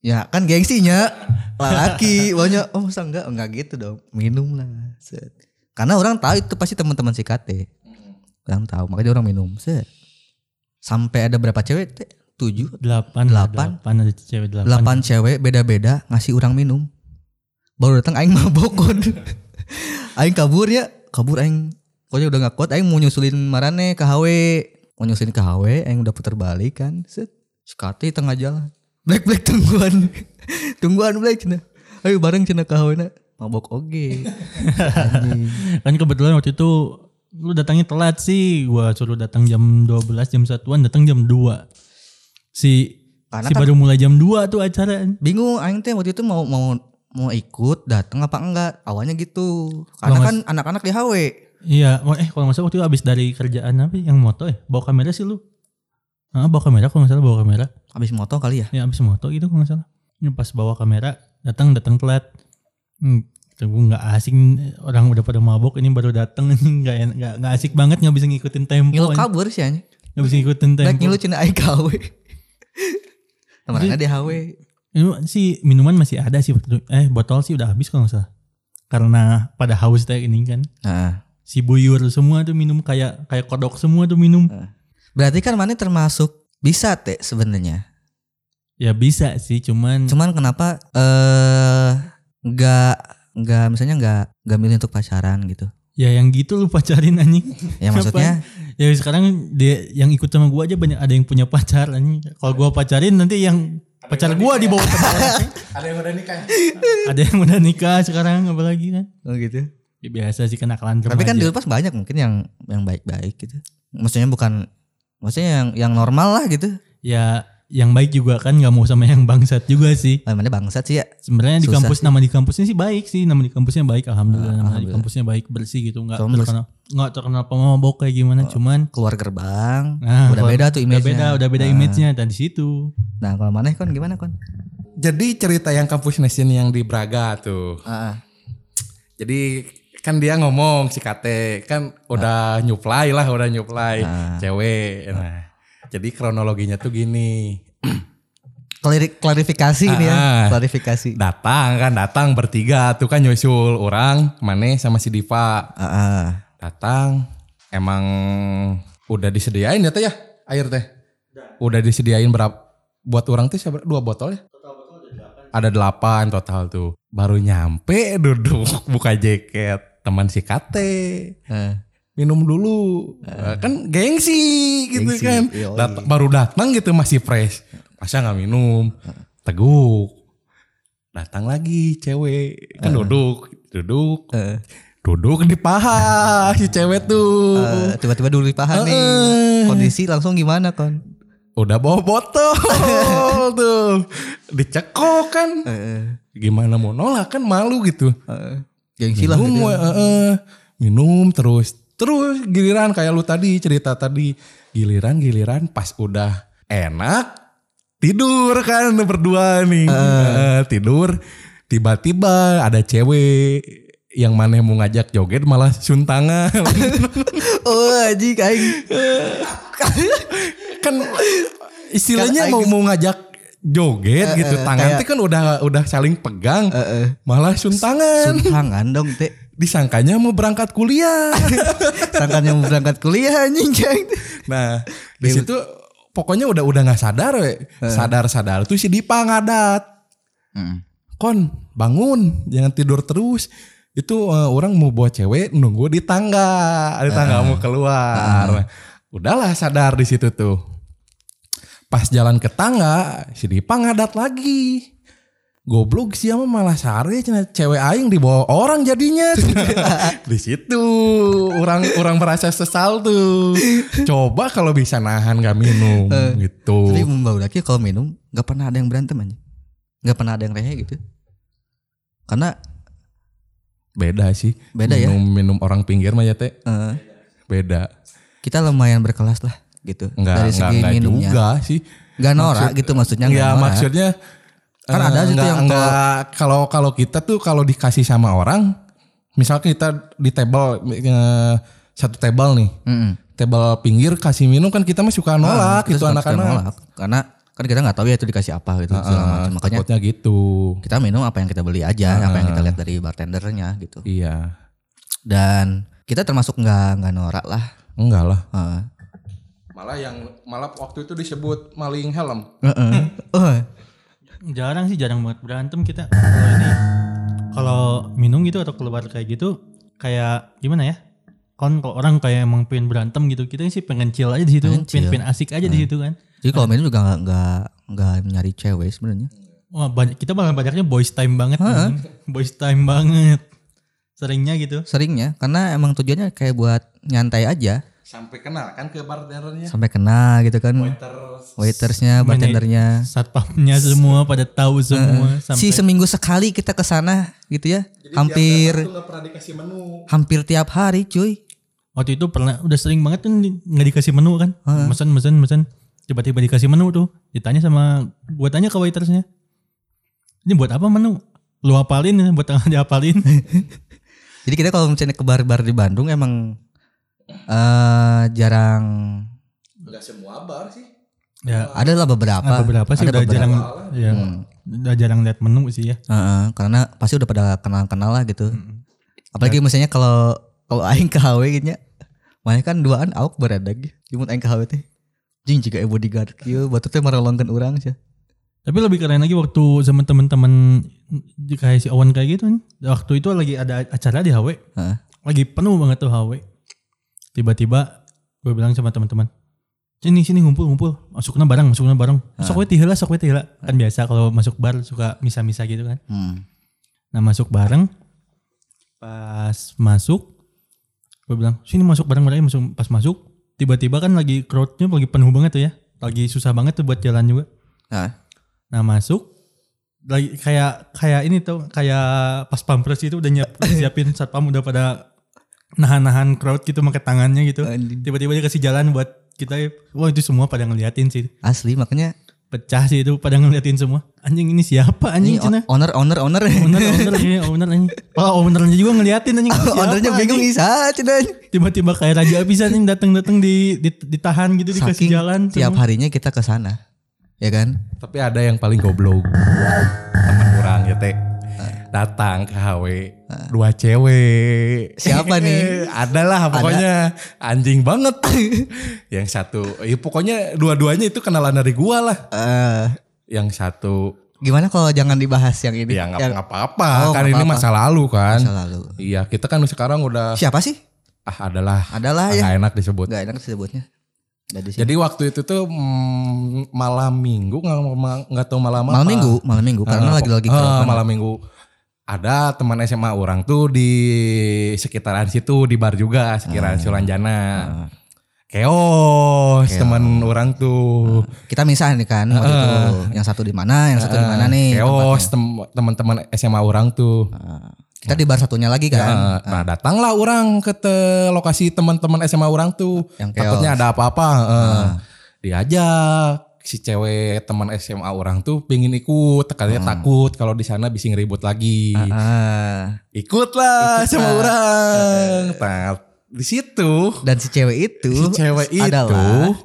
Ya kan gengsinya laki banyak oh masa enggak enggak gitu dong minum lah set. karena orang tahu itu pasti teman-teman si KT orang tahu makanya orang minum set. sampai ada berapa cewek Teh? tujuh Delapan. Delapan. Delapan ada cewek delapan. delapan cewek beda-beda ngasih orang minum baru datang aing mabok kon. aing kabur ya kabur aing pokoknya udah gak kuat aing mau nyusulin marane ke HW mau nyusulin ke HW aing udah puter balik kan set sekati tengah jalan black black tungguan tungguan black cina ayo bareng cina ke HW na mabok oge Anjing. Kan kebetulan waktu itu lu datangnya telat sih. Gua suruh datang jam 12, jam 1-an, datang jam 2. Si Karena si kan- baru mulai jam 2 tuh acara. bingung aing teh waktu itu mau mau mau ikut datang apa enggak awalnya gitu karena Lo ngas- kan anak-anak di HW Iya, wah, eh kalau nggak salah waktu itu abis dari kerjaan apa yang moto ya? Bawa kamera sih lu. Ah, bawa kamera kalau nggak salah bawa kamera. habis moto kali ya Ya abis moto gitu kalau nggak salah. Ini pas bawa kamera datang datang telat. Hmm, kata gua nggak asing orang udah pada mabok ini baru datang ini nggak en- nggak nggak asik banget nggak bisa ngikutin tempo ngilu anjing. kabur sih anjing. nggak bisa ngikutin Black tempo ngilu cina aing KW. Temenannya di HW. Ini si minuman masih ada sih waktu itu. eh botol sih udah habis kalau nggak salah karena pada haus teh ini kan si buyur semua tuh minum kayak kayak kodok semua tuh minum Berarti kan mana termasuk bisa teh sebenarnya. ya bisa sih cuman Cuman kenapa eh nggak nggak misalnya nggak nggak milih untuk pacaran gitu. ya yang gitu lu pacarin anjing Ya maksudnya ya sekarang dia yang ikut sama gua aja banyak ada yang punya pacar anjing kalau gua pacarin nanti yang pacar gua dibawa ke Ada yang udah nikah. ya? ada yang udah nikah sekarang apalagi kan oh gitu. ya, biasa sih kenakalan Tapi kan remaja. dulu pas banyak mungkin yang yang baik-baik gitu. Maksudnya bukan maksudnya yang yang normal lah gitu. ya yang baik juga kan nggak mau sama yang bangsat juga sih Eh, Mana bangsat sih ya. Sebenarnya di Susah kampus sih. nama di kampusnya sih baik sih, nama di kampusnya baik alhamdulillah, Ah, nama di alhamdulillah. kampusnya baik bersih gitu, nggak Sombong. terkenal nggak terkenal pemabok kayak gimana, cuman Keluar gerbang. udah Nah, keluar- beda tuh udah image-nya. Ah. beda udah beda image-nya dan di situ. Nah, kalau maneh kon gimana kon? Jadi cerita yang kampus nation yang di Braga tuh. Ah, Heeh. Jadi kan dia ngomong si Kate kan Ah. udah nyuplai lah udah nyuplai cewek. Nah, jadi kronologinya tuh gini. Klari- klarifikasi ini ya, Ah. klarifikasi. Datang kan datang bertiga tuh kan nyusul orang, Mane sama si Diva. Ah, ah. Datang emang udah disediain ya teh ya air teh. Udah disediain berapa buat orang tuh siapa- dua botol ya? Ada delapan total tuh. Baru nyampe eh, duduk buka jaket teman si Kate. Eh, minum dulu Eh, kan gengsi gitu Gengsi, iya. kan yoi. Dat- baru datang gitu masih fresh masa nggak minum teguk datang lagi cewek kan duduk duduk Eh. duduk di paha si cewek tuh eh, tiba-tiba dulu Ah, dipahami nih. Heeh. Kondisi langsung gimana kon? udah bawa botol tuh dicekok kan Heeh. gimana mau nolak kan malu gitu Eh, Gengsi lah. minum, gitu. eh, eh, minum terus terus giliran kayak lu tadi cerita tadi giliran giliran pas udah enak tidur kan berdua nih Eh, tidur tiba-tiba ada cewek yang mana mau ngajak joget malah suntangan Oh anjing aing. Eh, kan istilahnya Kan mau aing- mau ngajak joget gitu tangan kayak- teh kan udah udah saling pegang Heeh. malah suntangan Suntangan Eh, dong teh. disangkanya mau berangkat kuliah Sangkan yang berangkat kuliah anjing ceng. Nah, di situ pokoknya udah udah nggak sadar, we. sadar-sadar tuh si Dipa ngadat. Kon, bangun, jangan tidur terus. Itu eh, orang mau bawa cewek nunggu di tangga, di tangga mau keluar. Nah, Udahlah sadar di situ tuh. Pas jalan ke tangga, si Dipa ngadat lagi. Goblok sih ama malah sare cenah cewek aing dibawa orang jadinya. di situ orang orang merasa sesal tuh. Coba kalau bisa nahan gak minum Eh, gitu. Tapi mbak Udaki kalau minum nggak pernah ada yang berantem anjing. Nggak pernah ada yang rehe gitu. Karena Beda sih. Beda ya? minum, Minum orang pinggir mah ya teh. eh, Beda. kita lumayan berkelas lah gitu Enggak, dari enggak, segi enggak minumnya. juga sih. Nggak norak Maksud- gitu maksudnya nggak Ya norak. maksudnya Kan ada eh, situ enggak- yang enggak- kalau kalau kita tuh kalau dikasih sama orang, misal kita di table eh, satu table nih, Mm-mm. table pinggir kasih minum kan kita mah suka Ah, nolak Nah, Kita gitu suka anak-anak. Ah, nolak. Karena kan kita nggak tahu ya itu dikasih apa gitu segala macam. Makanya takutnya gitu. kita minum apa yang kita beli aja, apa yang kita lihat dari bartendernya gitu. Iya. Dan kita termasuk nggak nggak norak lah. Enggak lah. Heeh. Malah yang malah waktu itu disebut maling helm. Heeh. Eh, Jarang sih, jarang banget berantem kita. Kalau ini, kalau minum gitu atau keluar kayak gitu, kayak gimana ya? Kan kalau orang kayak emang pengen berantem gitu, kita sih pengen chill aja di situ, Pengen chill. Ah. pengen, pengen asik aja di situ kan. Jadi kalau minum juga nggak nggak nggak nyari cewek sebenarnya. Wah, banyak, kita malah banyaknya boys time banget, kan. boys time banget. Seringnya gitu. Seringnya karena emang tujuannya kayak buat nyantai aja Sampai kenal kan ke bartendernya. sampai kenal gitu kan. Terus Waitersnya, bartendernya. Satpamnya semua pada tahu semua. Eh, Si sampai seminggu sekali kita ke sana gitu ya. hampir itu nggak pernah dikasih menu. hampir tiap hari cuy. waktu itu pernah udah sering banget kan di- nggak dikasih menu kan. Eh. Mesen mesen mesen. Tiba-tiba dikasih menu tuh. Ditanya sama gua tanya ke waitersnya. Ini buat apa menu? Lu hafalin ya, buat tengah dihafalin. Eh, Jadi kita kalau misalnya ke bar-bar di Bandung emang eh jarang Nggak semua bar sih. ya, ada lah beberapa. ada beberapa sih Ada udah beberapa. Hmm. jarang ya, udah jarang lihat menu sih ya. Heeh, karena pasti udah pada kenal-kenal lah gitu. Hmm. Apalagi misalnya kalau kalau aing ke HW gitu ya. Mana kan duaan awak berada gitu. Cuman aing ke HW teh. Jing jika ibu bodyguard kieu batu teh merelongkeun urang sih. Tapi lebih keren lagi waktu sama temen-temen di- kayak si Owen kayak gitu kan. Waktu itu lagi ada acara di HW. Heeh. Lagi penuh banget tuh HW. Tiba-tiba gue bilang sama teman-teman. Sini sini ngumpul ngumpul. Masuknya bareng, masuknya bareng. Sok we tihela, sok we tihela. Kan biasa kalau masuk bar suka misa-misa gitu kan. Hmm. Nah masuk bareng. Pas masuk. Gue bilang sini masuk bareng bareng masuk pas masuk. Tiba-tiba kan lagi crowdnya lagi penuh banget tuh ya. Lagi susah banget tuh buat jalan juga. Nah, Nah masuk lagi kayak kayak ini tuh kayak pas pampres itu udah nyiap, udah siapin satpam udah pada nahan-nahan crowd gitu pakai tangannya gitu. Anjing. Tiba-tiba dia kasih jalan buat kita. Wah itu semua pada ngeliatin sih. asli makanya Pecah sih itu pada ngeliatin semua. Anjing ini siapa ini anjing cina? owner owner owner. Owner owner ini owner anjing. Wah ownernya juga ngeliatin anjing. Siapa, Ownernya bingung anjing? isa cina. Tiba-tiba kayak raja bisa anjing datang-datang di, di- ditahan gitu dikasih Saking jalan. tiap semua. harinya kita ke sana. Ya kan? Tapi ada yang paling goblok. Teman orang ya teh. Datang ke HW dua cewek. Siapa nih? Adalah pokoknya anjing banget. yang satu, ya pokoknya dua-duanya itu kenalan dari gua lah. Eh, Yang satu gimana kalau jangan dibahas yang ini? ya nggak Yang- nggak apa-apa Oh, kan nggak ini apa-apa. masa lalu kan. Masa lalu. Iya kita kan sekarang udah Siapa sih? ah adalah Adalah ya. nggak enak disebut. Gak enak disebutnya. Dari sini. Jadi waktu itu tuh mm, malam minggu nggak nggak tahu malam apa. malam minggu, malam minggu karena Ah, lagi lagi ah, kerobak. malam minggu ada teman SMA orang tuh di sekitaran situ di bar Ah. juga sekitaran Sulanjana. Keos, teman orang tuh. Kita misah nih kan waktu Eh, itu. Yang satu di mana, yang Ah, satu di mana nih? Keos tem- teman-teman SMA orang tuh. tempatnya. Eh, Kita di bar satunya lagi kan. Nah, nah, datanglah orang ke te- lokasi teman-teman SMA orang tuh. Yang Ah. Takutnya ada apa-apa. eh. Diajak si cewek teman SMA orang tuh pingin ikut, katanya takut kalau di sana bisa ngeribut lagi. Ah, Ikutlah sama orang. Nah, di situ dan si cewek itu si cewek adalah itu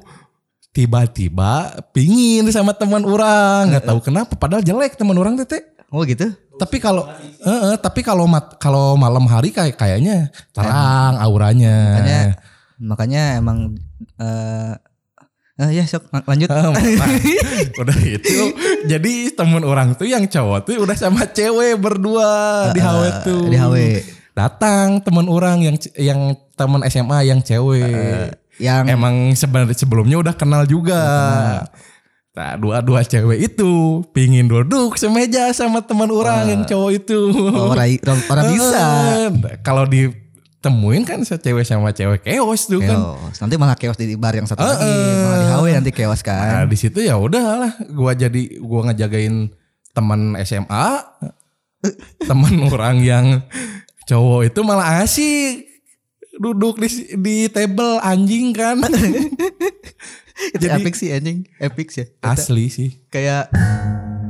tiba-tiba pingin sama teman orang, nggak tahu kenapa padahal jelek teman orang tete. oh gitu. Tapi kalau eh, eh, tapi kalau mat- kalau malam hari kayak kayaknya terang auranya. Makanya Eh. makanya emang eh eh, ya sok lan- lanjut. Eh, nah, udah itu jadi temen orang tuh yang cowok tuh udah sama cewek berdua di HW tuh Eh, di HW. datang temen orang yang ce- yang temen SMA yang cewek yang emang sebenarnya sebelumnya udah kenal juga Nah, dua-dua cewek itu pingin duduk semeja sama teman orang yang cowok itu. orang orang bisa. Eh, Kalau ditemuin kan se- cewek sama cewek keos tuh kan. Keos. Nanti malah keos di bar yang satu lagi, malah di HW nanti keos kan. Nah, di situ ya udahlah, gua jadi gua ngejagain teman SMA, teman orang yang cowok itu malah asik duduk di di table anjing kan. Itu jadi- epic sih anjing, epic sih. Asli sih. kayak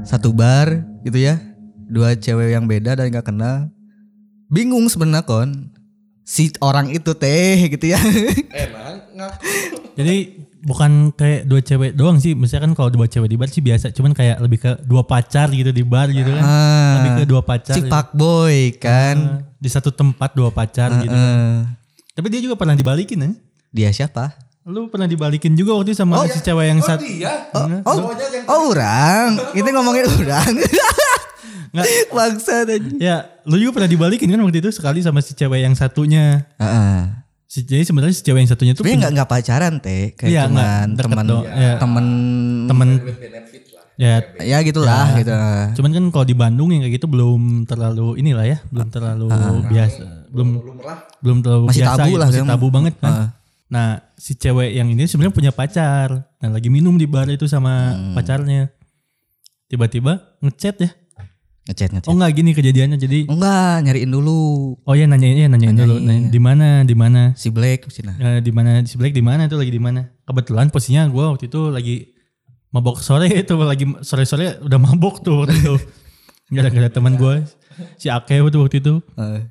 satu bar gitu ya dua cewek yang beda dan nggak kenal bingung sebenarnya kon si orang itu teh gitu ya Eh, nah, ngaku. Jadi bukan kayak dua cewek doang sih. Misalkan kalau dua cewek di bar sih biasa, cuman kayak lebih ke dua pacar gitu di bar gitu kan. Lebih ke Ah, dua pacar. si gitu. Pak Boy kan. Ah, di satu tempat dua pacar gitu. Eh, Tapi dia juga pernah dibalikin ya. dia siapa? Lu pernah dibalikin juga waktu itu sama iya. si cewek yang Oh satu. dia. Oh, oh orang. Kita ngomongin orang. Nggak. Bangsa tadi. Ya, lu juga pernah dibalikin kan waktu itu sekali sama si cewek yang satunya. Heeh. Si, jadi sebenarnya si cewek yang satunya tuh Tapi nggak nggak pacaran teh, kayak Iya, nggak, cuman deket temen doang. Iya. temen Hmm. temen Benefit lah. ya ya gitulah gitu. Cuman kan kalau di Bandung yang kayak gitu belum terlalu inilah ya, belum terlalu biasa, belum Belum lah. belum terlalu Ah. Masih biasa, tabu gitu, lah masih memang. Ah. tabu banget kan. Nah, si cewek yang ini sebenarnya punya pacar. Nah, lagi minum di bar itu sama Hmm. pacarnya. Tiba-tiba ngechat ya. Ngechat ngechat. Oh enggak gini kejadiannya. Jadi Enggak, nyariin dulu oh ya nanyain ya nanyain dulu Nanyain, nanya, di mana di mana si Nah. Blake Cina. Eh, di mana si Black di mana itu lagi di mana. Kebetulan posisinya gua waktu itu lagi mabok sore itu lagi sore-sore udah mabok tuh waktu itu. Gara-gara teman gua si Akeo tuh waktu itu Eh,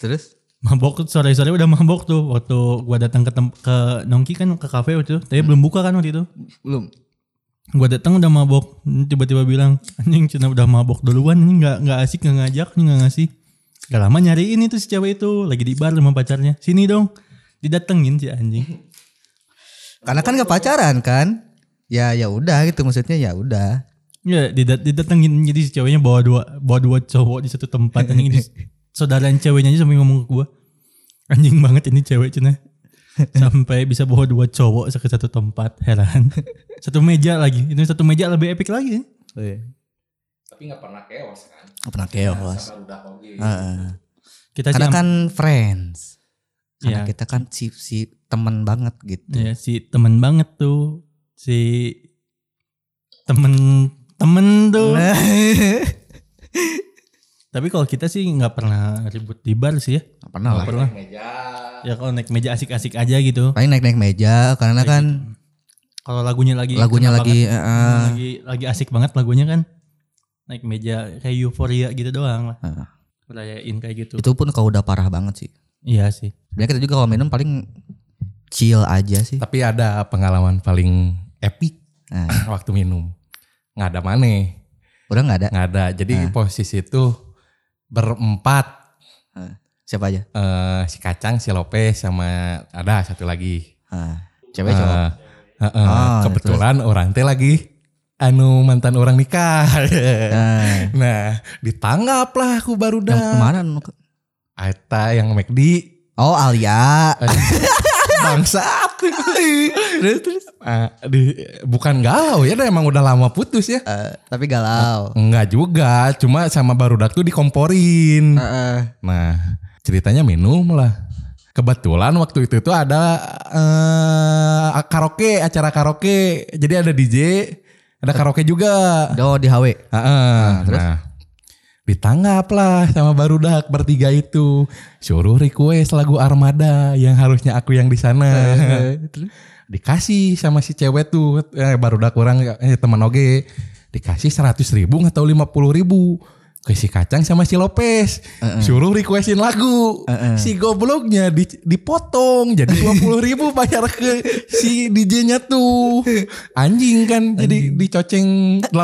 terus mabok sore-sore udah mabok tuh waktu gua datang ke tem- ke Nongki kan ke kafe waktu itu tapi belum buka kan waktu itu belum. gua datang udah mabok tiba-tiba bilang anjing cina udah mabok duluan ini nggak nggak asik nggak ngajak ini nggak ngasih gak lama nyariin itu si cewek itu lagi di bar sama pacarnya sini dong didatengin si anjing Karena kan nggak pacaran kan? Ya ya udah gitu maksudnya ya udah. ya didat didatengin jadi si ceweknya bawa dua bawa dua cowok di satu tempat anjing ini saudara ceweknya aja sampai ngomong ke gua anjing banget ini cewek cina sampai bisa bawa dua cowok ke satu tempat heran satu meja lagi itu satu meja lebih epic lagi ya. Tapi nggak pernah keos kan. Nggak pernah keos. Sama udah oke. Heeh. kita sih Karena am- kan friends. Karena Iya. kita kan si si teman banget gitu. Ya si temen banget tuh si temen temen tuh. Nah. Tapi kalau kita sih nggak pernah ribut di bar sih ya. Nggak pernah lah. Nggak pernah. Meja. Ya kalau naik meja asik-asik aja gitu. Paling naik-naik meja karena kan Kalau lagunya lagi lagunya kena lagi eh, banget, eh, lagi lagi asik banget lagunya kan. Naik meja kayak euforia gitu doang lah. Heeh. Rayain kayak gitu. itu pun kalau udah parah banget sih. Iya sih. Sebenarnya kita juga kalau minum paling chill aja sih. Tapi ada pengalaman paling epic Nah. waktu minum. Nggak ada maneh. Udah nggak ada Nggak ada. Jadi Nah. posisi itu berempat. siapa aja? Eh, si Kacang, si Lopez, sama ada satu lagi. Ah, cewek cowok. Eh, eh, eh, Ah, kebetulan orang teh lagi anu mantan orang nikah. Nah, nah, ditanggap lah aku baru yang dah. kemana? Aita yang McD Oh Alia. bangsat terus terus Ah, di- bukan galau ya dah, emang udah lama putus ya Eh, tapi galau. enggak juga cuma sama barudak tuh dikomporin Heeh. nah ceritanya minum lah kebetulan waktu itu tuh ada eh, karaoke acara karaoke jadi ada DJ ada karaoke juga Oh di HW. Heeh, nah, ditanggap lah sama barudak bertiga itu. Suruh request lagu Armada yang harusnya aku yang di sana. Dikasih sama si cewek tuh eh, barudak orang eh, teman oge. Dikasih 100 ribu atau 50 ribu ke si kacang sama si Lopez suruh requestin lagu si gobloknya di- dipotong jadi 20 ribu bayar ke si DJ-nya tuh anjing kan jadi dicoceng 80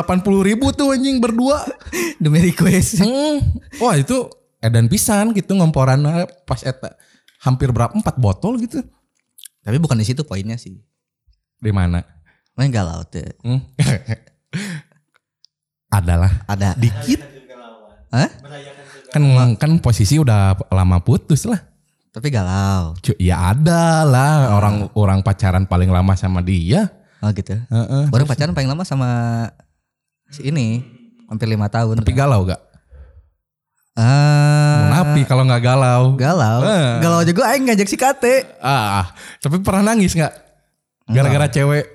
ribu tuh anjing berdua Demi request. Hmm. wah itu edan pisan gitu ngomporan pas eta hampir berapa empat botol gitu tapi bukan di situ poinnya sih. di mana Main galau tuh. Hmm. adalah Ada. dikit Hah? kan kan posisi udah lama putus lah Tapi galau. Cu- ya ada lah orang orang pacaran paling lama sama dia Oh gitu. Heeh. Orang pacaran paling lama sama si ini hampir lima tahun. tapi galau gak Ah, Napi kalau nggak galau galau. Eh. Galau juga aing ngajak si Kate. ah tapi pernah nangis nggak gara-gara cewek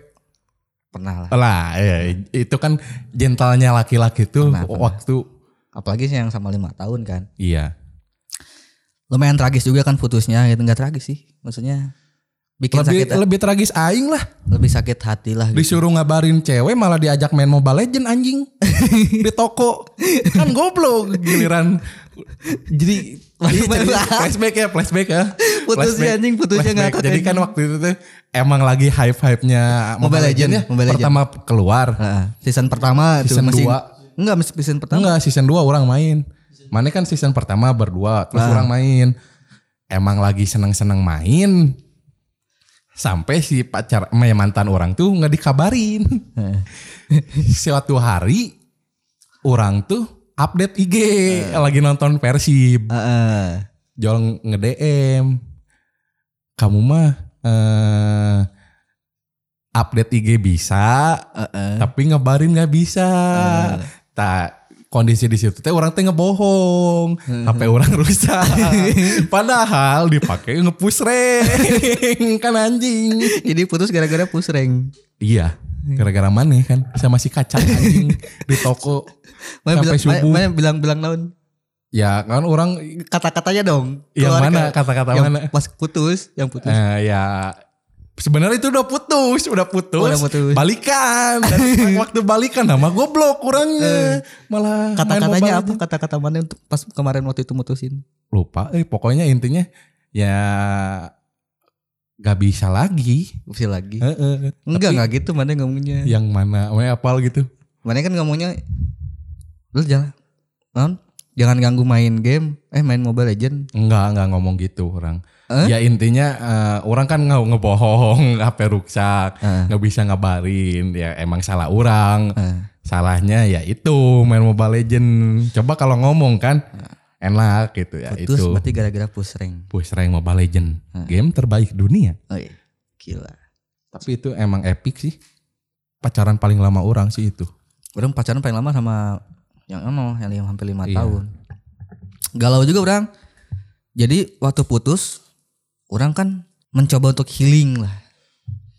Pernah lah. lah ya, itu kan gentalnya laki-laki tuh Pernah, pernah. waktu Apalagi sih yang sama lima tahun kan. iya Lumayan tragis juga kan putusnya gitu. Enggak tragis sih. Maksudnya bikin lebih sakit eh. lebih tragis aing lah lebih sakit hati lah gitu. disuruh ngabarin cewek malah diajak main Mobile Legend anjing di toko kan goblok giliran Jadi Iya, jadi flashback ya, flashback ya. Putus Flashback, ya, anjing, putusnya flashback. ngakak Jadi anjing. kan waktu itu tuh emang lagi hype-hype-nya Mobile Legend, ya. Mobile Legend. Pertama keluar. Heeh. season pertama tuh Season masih dua. enggak masih season pertama. Enggak, season 2 orang main. Mana kan season pertama berdua, terus orang main. Emang lagi seneng-seneng main. Sampai si pacar eh, mantan orang tuh nggak dikabarin. Suatu hari orang tuh update IG lagi nonton Persib. Heeh. Jol nge-DM. Kamu mah eh, update IG bisa, Heeh. tapi ngebarin nggak bisa. Nah. Ah. Tak kondisi di situ teh orang teh ngebohong, Hmm. HP orang rusak. Padahal dipakai ngepush rank kan anjing. Jadi putus gara-gara push rank. Iya, Hmm. gara-gara mana kan sama si kacang anjing di toko Mana sampai bilang, subuh. mana- mana bilang-bilang naon? Ya kan orang Kata-katanya dong. yang Keluar mana ke- kata-kata yang mana? Pas putus, yang putus. Eh, ya sebenarnya itu udah putus, udah putus, Udah putus. balikan. Dan waktu balikan nama goblok orangnya malah main Mobile Eh. Kata-katanya apa? Legends. Kata-kata mana untuk pas kemarin waktu itu mutusin? lupa eh pokoknya intinya ya gak bisa lagi Usil lagi. Heeh. Enggak, Tapi- enggak gitu mana ngomongnya. yang mana we apal gitu Mana kan ngomongnya lu jangan naon? Jangan ganggu main game, eh main Mobile Legend. enggak enggak ngomong gitu orang Eh? ya intinya eh, orang kan nge ngebohong HP ruksak Nah, nggak bisa ngabarin ya emang salah orang Eh. salahnya ya itu main Mobile Legend coba kalau ngomong kan enak gitu ya Putus itu berarti gara-gara push rank. push rank Mobile Legend game terbaik dunia Oh iya. Gila. tapi itu emang epic sih pacaran paling lama orang sih itu Orang pacaran paling lama sama yang ano yang lima- hampir lima Iya. tahun. Galau juga orang. Jadi waktu putus, orang kan mencoba untuk healing lah.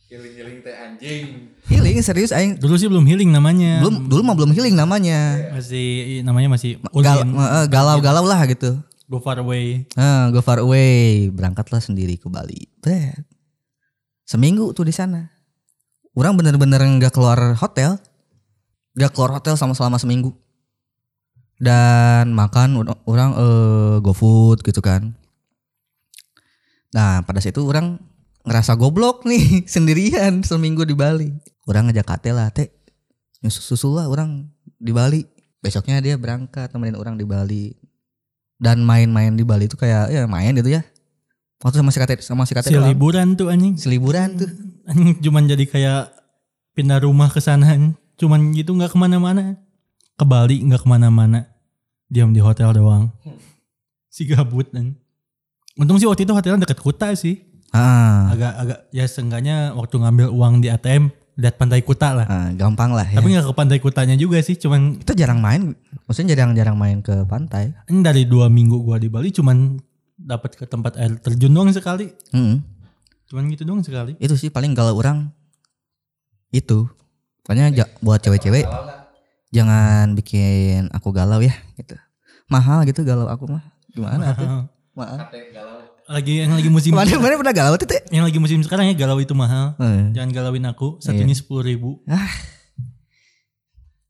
Giling-giling teh anjing. Healing serius aing Dulu sih belum healing namanya. belum dulu mah belum healing namanya. Masih namanya masih Gal- Ulin, eh, Galau-galau lah gitu. Go Far Away. Nah, go far away, berangkatlah sendiri ke Bali. Bret. Seminggu tuh di sana. Orang bener-bener nggak keluar hotel, nggak keluar hotel sama selama seminggu. Dan makan or- orang eh, GoFood gitu kan. Nah, pada situ orang ngerasa goblok nih sendirian seminggu di Bali. Orang ngajak Ate lah, Teh. Susul lah orang di Bali. Besoknya dia berangkat temenin orang di Bali dan main-main di Bali itu kayak ya main gitu ya. Waktu sama si Kate sama si Kate Si doang. liburan tuh anjing. Seliburan tuh. Anjing cuman jadi kayak pindah rumah ke sana. Cuman gitu nggak kemana-mana. Ke Bali nggak kemana-mana. Diam di hotel doang. Hmm. Si gabut anjing. Untung sih waktu itu hotelnya deket Kuta sih. Ah, Agak-agak ya seenggaknya waktu ngambil uang di ATM lihat pantai Kuta lah. ah, gampang lah ya. Tapi nggak ke pantai Kutanya juga sih. Cuman kita jarang main, maksudnya jarang-jarang main ke pantai. ini dari dua minggu gua di Bali cuman dapat ke tempat air terjun doang sekali. Mm-mm. Cuman gitu doang sekali. Itu sih paling kalau orang itu. Pokoknya ja- buat cewek-cewek jangan bikin aku galau ya gitu. Mahal gitu galau aku mah. Gimana tuh? Mahal. Mahal. Kate galau. Lagi yang lagi musim Mana mana pernah galau tuh? Teh? yang lagi musim sekarang ya galau itu mahal. Eh, Jangan galauin aku, satunya sepuluh ribu. Ah.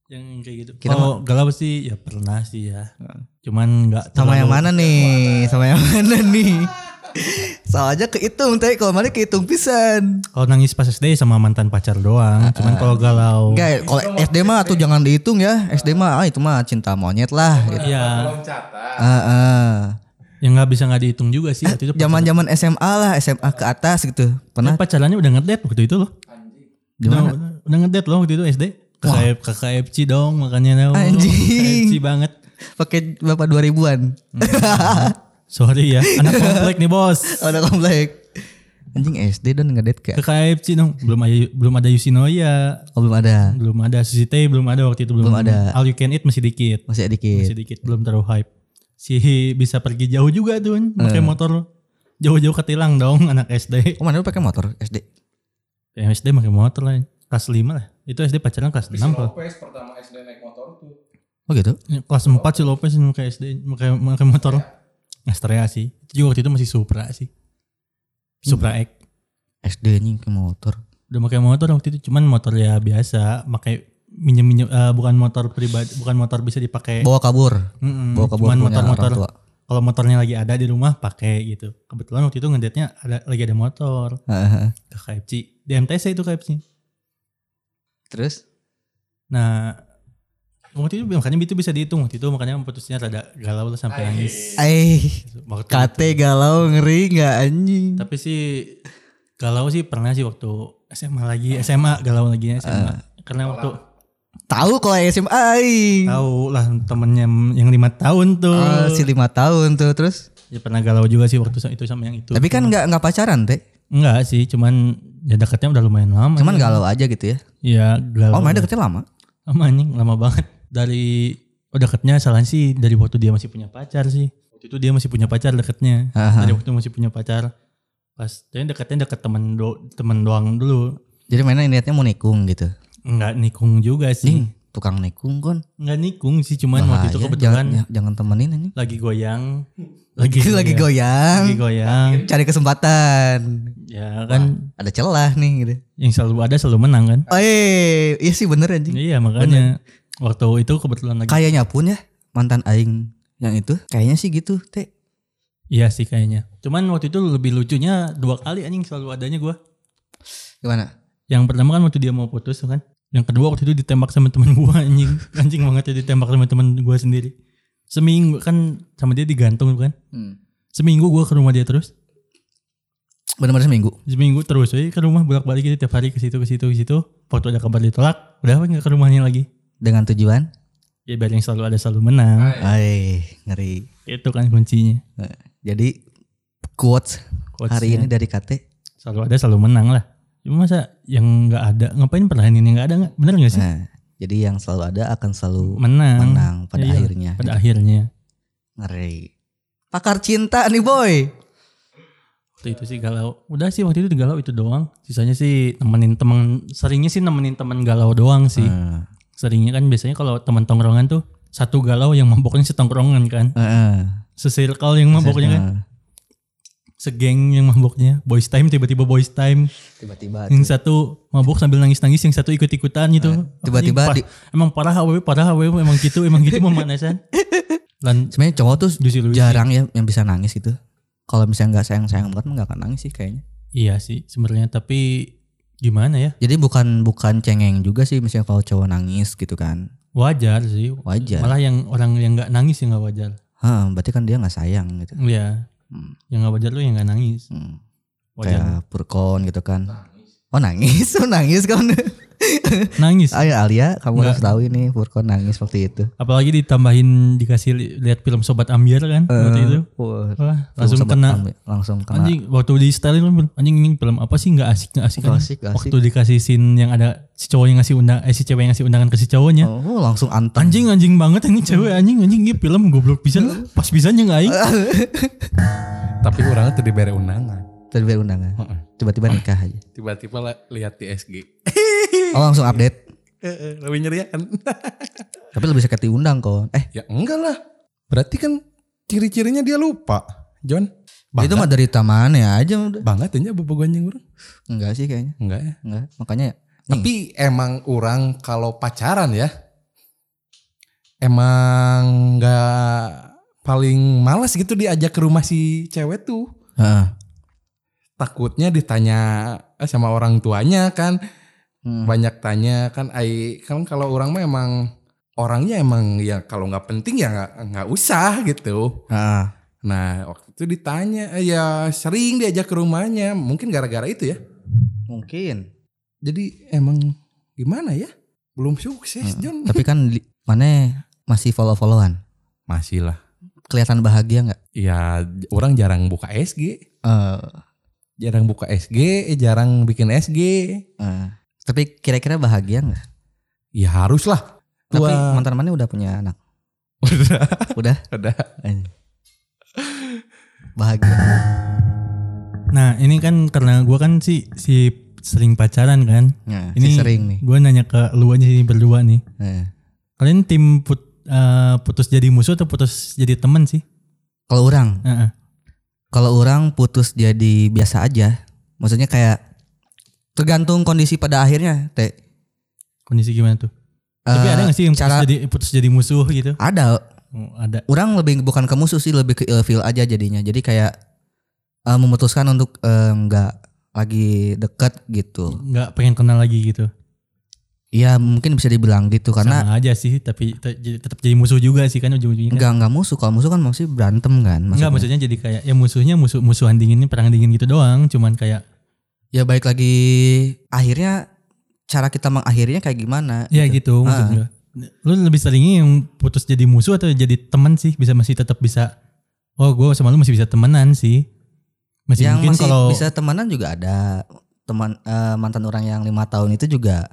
Yang kayak gitu. Kira Ah. Kalau galau sih ya pernah sih ya. Cuman Sama nggak terlalu- yang mana nih? Sama yang mana nih? Soalnya kehitung teh kalau mana kehitung pisan. Kalau nangis pas SD sama mantan pacar doang. Cuman kalau galau, Ah. Enggak, kalau SD Oh. mah tuh jangan dihitung ya. SD mah ah, itu mah cinta monyet lah gitu. ya Loncatan. Heeh. yang Ya, nggak bisa nggak dihitung juga sih waktu itu. Zaman-zaman SMA lah, SMA ke atas gitu. Pernah pacaran- pacarannya udah ngedate waktu itu loh. di mana? Udah, udah ngedate loh waktu itu SD. Ke, KF, ke KFC dong makanya dong. Anjing. KFC banget. Pakai bapak 2000-an. Hmm. Sorry ya, anak komplek nih bos. Ada komplek. Anjing SD dan ngedet Ke kayak KFC dong. Belum ada belum ada Yusinoya. oh, belum ada. Belum ada Sushi Tei belum ada waktu itu belum, Belum ada. Iya. All you can eat masih dikit. Masih dikit. Masih dikit belum terlalu hype. Si bisa pergi jauh juga tuh kan, Eh. pakai motor jauh-jauh ketilang dong anak SD. Oh, mana lu pakai motor SD? Yang SD pakai motor lah. ya. Kelas 5 lah. Itu SD pacaran kelas 6 kalau. Lopez pertama SD naik motor tuh. Oh gitu. Kelas 4 si Lopez yang pakai SD pakai pakai motor. Iya. Astrea sih. Itu juga waktu itu masih Supra sih. Supra X. SD anjing ke motor. Udah pakai motor waktu itu cuman motor ya biasa, pakai minjem minjem eh, bukan motor pribadi bukan motor bisa dipakai Bawa kabur. Mm-mm, Bawa kabur Hmm, cuman punya motor-motor orang tua. kalau motornya lagi ada di rumah pakai gitu kebetulan waktu itu ngedate-nya ada lagi ada motor Heeh. ke KFC di MTC itu KFC Terus? nah waktu itu makanya itu bisa dihitung waktu itu makanya putusnya rada galau lah sampai nangis Eh, waktu kate galau ngeri nggak anjing? Tapi sih galau sih pernah sih waktu SMA lagi, SMA galau lagi ya, SMA. Eh. Karena waktu Tahu kalau SMA aing. tahu lah temennya yang lima tahun tuh. Ah, si lima tahun tuh terus. Ya pernah galau juga sih waktu itu sama yang itu. Tapi kan nggak nggak pacaran teh. enggak sih, cuman ya dekatnya udah lumayan lama. Cuman galau aja gitu ya. ya iya. galau. Oh, main deketnya lama. Lama anjing, lama banget. Dari oh dekatnya salah sih dari waktu dia masih punya pacar sih. Waktu itu dia masih punya pacar dekatnya. Aha. Dari waktu masih punya pacar. Pas tapi dekatnya dekat temen do, temen doang dulu. Jadi mainnya niatnya mau nikung gitu. Enggak nikung juga Ih, sih. tukang nikung kon. Nggak nikung sih, cuman Hmm. waktu itu Bahaya, kebetulan jangan, jangan temenin anjing. lagi goyang, lagi lagi goyang, goyang, lagi goyang. cari kesempatan. Ya kan, Ada celah nih gitu. yang selalu ada selalu menang kan. Oh, eh, iya sih bener anjing. Iya makanya waktu itu kebetulan lagi. Kayaknya pun ya mantan aing yang itu kayaknya sih gitu, Teh. Iya sih kayaknya. Cuman waktu itu lebih lucunya dua kali anjing selalu adanya gua. Gimana? Yang pertama kan waktu dia mau putus tuh kan. Yang kedua waktu itu ditembak sama temen gua anjing. Anjing banget ya ditembak sama temen gua sendiri. Seminggu kan sama dia digantung kan. Hmm. Seminggu gua ke rumah dia terus. Benar-benar seminggu. seminggu terus aja ke rumah bolak balik gitu tiap hari ke situ ke situ ke situ waktu ada kabar ditolak udah apa nggak ke rumahnya lagi Dengan tujuan ya biar yang selalu ada selalu menang eh ngeri. itu kan kuncinya Jadi quotes, Quotes-nya. hari ini dari KT selalu ada selalu menang lah cuma masa yang nggak ada ngapain perlahan yang nggak ada nggak bener nggak sih Nah, jadi yang selalu ada akan selalu menang, menang pada Iya, akhirnya. pada akhirnya Ngeri. Pakar cinta nih boy. waktu itu sih galau udah sih waktu itu galau itu doang sisanya sih nemenin temen seringnya sih nemenin temen galau doang sih Heeh. seringnya kan biasanya kalau teman tongkrongan tuh satu galau yang maboknya setongkrongan kan Heeh. sesirkel yang maboknya kan Heeh. segeng yang maboknya boys time tiba-tiba boys time Tiba-tiba. Nah, yang satu mabok sambil nangis nangis yang satu ikut ikutan gitu tiba-tiba di- Anjing, par- emang parah aww parah aww emang gitu emang gitu pemanasan dan Sebenarnya cowok tuh disilui jarang ya yang bisa nangis gitu. Kalau misalnya nggak sayang sayang banget, mah nggak akan nangis sih kayaknya. iya sih sebenarnya tapi gimana ya Jadi bukan bukan cengeng juga sih misalnya kalau cowok nangis gitu kan. wajar sih Wajar. malah yang orang yang nggak nangis yang nggak wajar Heeh, berarti kan dia nggak sayang gitu. Iya Hmm. yang nggak wajar lu yang nggak nangis Hmm. wajar Kayak purkon gitu kan. Oh nangis, oh nangis kan. nangis Ayo Alia, kamu Nggak. harus tahu ini purkon nangis waktu itu. apalagi ditambahin dikasih li- lihat film sobat ambiar kan waktu itu Wah, Wah, langsung Eh, sobat kena kami, langsung kena. Anjing waktu di style anjing ini film apa sih kan nggak asik nggak asik, Nggak anjing. asik, nggak asik. waktu dikasih scene yang ada si cowok yang ngasih undang eh si cewek yang ngasih undangan ke si cowoknya Oh, langsung anteng. anjing anjing banget ini cewek anjing anjing ini film goblok bisa pas bisa aja nggak aing Tapi orangnya tadi bere undangan. Tiba-tiba undangan. Heeh. Tiba-tiba nikah aja. Tiba-tiba la- lihat di SG. Oh, langsung update. Eh, eh, Lebih nyeriakan. Tapi lebih sakit diundang kok. Eh, ya enggak lah. Berarti kan ciri-cirinya dia lupa. John. Ya, itu mah dari tamannya aja udah. banget aja bobo anjing orang. Enggak sih kayaknya. Enggak ya. Hmm. Enggak. Makanya Tapi emang orang kalau pacaran ya emang nggak paling males gitu diajak ke rumah si cewek tuh. Heeh. Takutnya ditanya eh, sama orang tuanya kan Hmm. banyak tanya kan ai kan kalau orang mah emang orangnya emang ya kalau nggak penting ya nggak nggak usah gitu. Heeh. Nah waktu itu ditanya eh, ya sering diajak ke rumahnya mungkin gara-gara itu ya. Mungkin. Jadi emang gimana ya belum sukses John. Tapi kan li- mana masih follow-followan. Masih lah. Kelihatan bahagia nggak? Ya j- orang jarang buka SG, Eh, jarang buka SG, eh, jarang bikin SG. eh. Tapi kira-kira bahagia nggak? Ya harus lah. Tapi Tua. mantan mana udah punya anak? Udah? Udah. Eh. Bahagia. nah ini kan karena gua kan si si sering pacaran kan Nah, ini si sering nih. gua nanya ke lu aja ini berdua nih Eh. kalian tim put- eh, putus jadi musuh atau putus jadi teman sih Kalau orang, Heeh. kalau orang putus jadi biasa aja, maksudnya kayak tergantung kondisi pada akhirnya, Eh, teh. kondisi gimana tuh Tapi Eh, ada gak sih yang cara- putus jadi putus jadi musuh gitu? Ada Oh, ada. orang lebih bukan ke musuh sih lebih ke ilfeel aja jadinya jadi kayak eh, memutuskan untuk eh, nggak lagi dekat gitu Nggak pengen kenal lagi gitu. ya mungkin bisa dibilang gitu karena Sama aja sih, tapi te- jadi- tetap jadi musuh juga sih kan ujung-ujungnya. kan. nggak nggak musuh kalau musuh kan masih berantem kan Enggak, maksudnya jadi kayak ya musuhnya musuh musuhan dingin perang dingin gitu doang, cuman kayak ya baik lagi akhirnya cara kita mengakhirinya kayak gimana ya gitu maksud Ah. gua. Lu lebih seringnya yang putus jadi musuh atau jadi teman sih? Bisa masih tetap bisa Oh, gua sama lu masih bisa temenan sih. Masih yang mungkin masih kalau bisa temenan juga ada teman eh, mantan orang yang lima tahun itu juga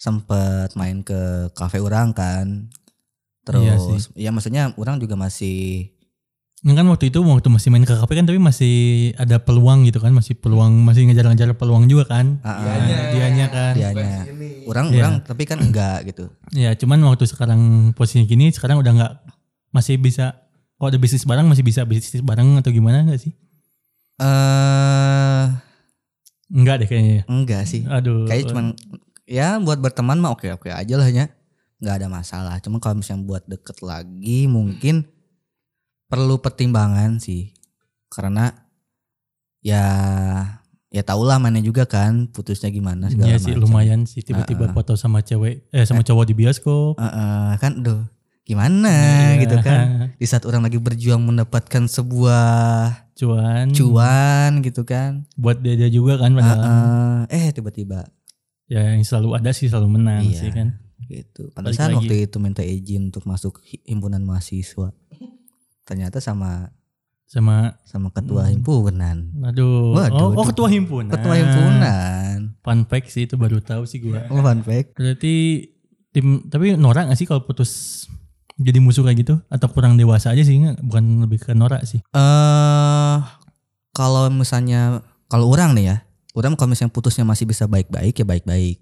sempet main ke kafe orang kan Iya terus ya maksudnya orang juga masih Ya kan waktu itu waktu masih main KKP kan tapi masih ada peluang gitu kan masih peluang masih ngejar-ngejar peluang juga kan ah, ah. Dianya. dianya kan. Bukan Dianya. si ini. orang Iya. orang tapi kan enggak gitu ya cuman waktu sekarang posisinya gini sekarang udah nggak masih bisa kalau ada bisnis barang masih bisa bisnis barang atau gimana nggak sih eh Enggak deh kayaknya ya. enggak sih aduh kayak cuman ya buat berteman mah oke oke aja lah ya nggak ada masalah cuma kalau misalnya buat deket lagi mungkin perlu pertimbangan sih karena ya ya tau lah mana juga kan putusnya gimana segala Iya macam. sih Ah. lumayan sih tiba-tiba foto sama cewek eh sama cowok di bioskop Eh, eh, kan aduh gimana Iya. gitu kan di saat orang lagi berjuang mendapatkan sebuah cuan cuan gitu kan buat dia, dia juga kan Eh, padahal. eh eh, tiba-tiba ya yang selalu ada sih selalu menang Iya. sih kan gitu. Balik Pantesan lagi. waktu itu minta izin untuk masuk hi- himpunan mahasiswa. Ternyata sama sama sama ketua Hmm. himpunan. aduh Waduh, oh, aduh. oh ketua himpunan Ketua himpunan. Fun fact sih itu baru tahu sih gua. Oh, fun fact. Berarti tim tapi norak gak sih kalau putus jadi musuh kayak gitu atau kurang dewasa aja sih nggak? bukan lebih ke norak sih. Eh, kalau misalnya kalau orang nih ya, orang kalau misalnya putusnya masih bisa baik-baik ya baik-baik.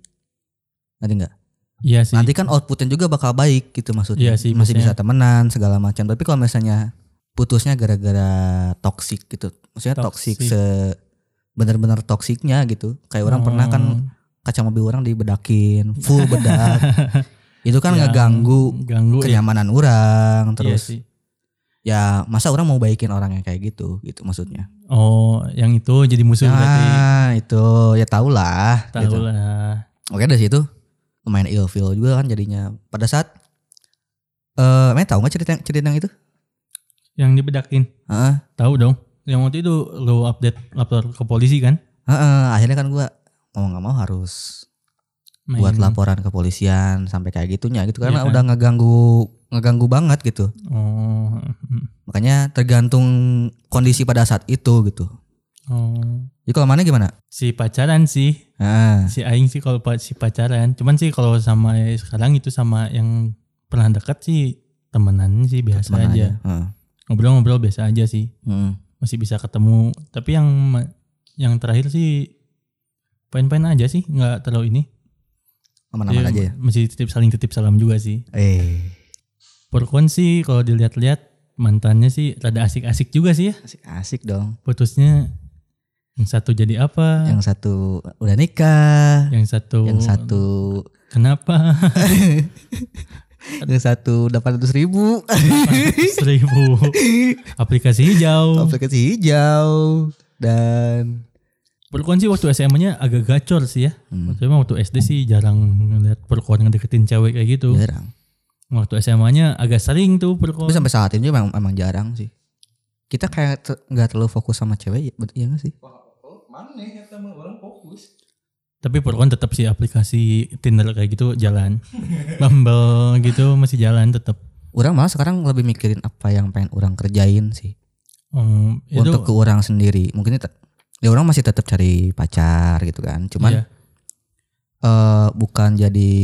Nanti enggak? Iya sih. Nanti kan outputnya juga bakal baik gitu maksudnya. Iya sih, Masih maksudnya. bisa temenan segala macam. Tapi kalau misalnya putusnya gara-gara toksik gitu. Maksudnya toksik Toxic. se benar-benar toksiknya gitu. Kayak orang pernah kan Oh. kaca mobil orang dibedakin, full bedak. itu kan Yang ngeganggu iya. ganggu ya. kenyamanan orang Iya terus. sih. Ya, masa orang mau baikin orang yang kayak gitu gitu maksudnya. Oh, yang itu jadi musuh berarti. Nah, itu ya tau lah Tahu gitu. lah. Oke dari situ lumayan ilfeel juga kan jadinya. Pada saat eh emang tahu nggak cerita cerita yang itu? Yang dibedakin. Heeh. Tahu dong. Yang waktu itu lo update lapor ke polisi kan? Heeh, akhirnya kan gua mau nggak mau harus Main- buat laporan kepolisian sampai kayak gitunya gitu karena Iya kan? udah ngeganggu ngeganggu banget gitu. Oh. mm, Makanya tergantung kondisi pada saat itu gitu. Oh. Jadi kalau mana gimana? Si pacaran sih. Heeh. Si Aing sih kalau pa- si pacaran. Cuman sih kalau sama sekarang itu sama yang pernah dekat sih temenan sih biasa Mana aja. Heeh. hmm, Ngobrol-ngobrol biasa aja sih. Heeh. Masih bisa ketemu. Tapi yang ma- yang terakhir sih pain-pain aja sih, nggak terlalu ini. Aman-aman Jadi aja ya. Masih titip saling titip salam juga sih. Eh, Porkon sih kalau dilihat-lihat mantannya sih rada asik-asik juga sih ya. asik-asik dong. Putusnya yang satu jadi apa? Yang satu udah nikah, Yang satu yang satu kenapa? yang satu 800 ribu. Seribu aplikasi hijau. aplikasi hijau dan Perkuan sih waktu SMA-nya agak gacor sih ya. Hmm. Maksudnya waktu SD sih jarang ngeliat perkuan ngedeketin cewek kayak gitu. jarang. Waktu SMA-nya agak sering tuh perkuan. Tapi sampai saat ini emang, emang jarang sih. Kita kayak ter- nggak terlalu fokus sama cewek ya, betul ya nggak sih? Wah, oh, mana ya sama orang fokus. Tapi perkuan tetap sih aplikasi Tinder kayak gitu jalan. Bumble gitu masih jalan tetap. Orang malah sekarang lebih mikirin apa yang pengen orang kerjain sih. Hmm, itu Untuk ke orang sendiri, mungkin itu- ya orang masih tetap cari pacar gitu kan. Cuman iya. eh, bukan jadi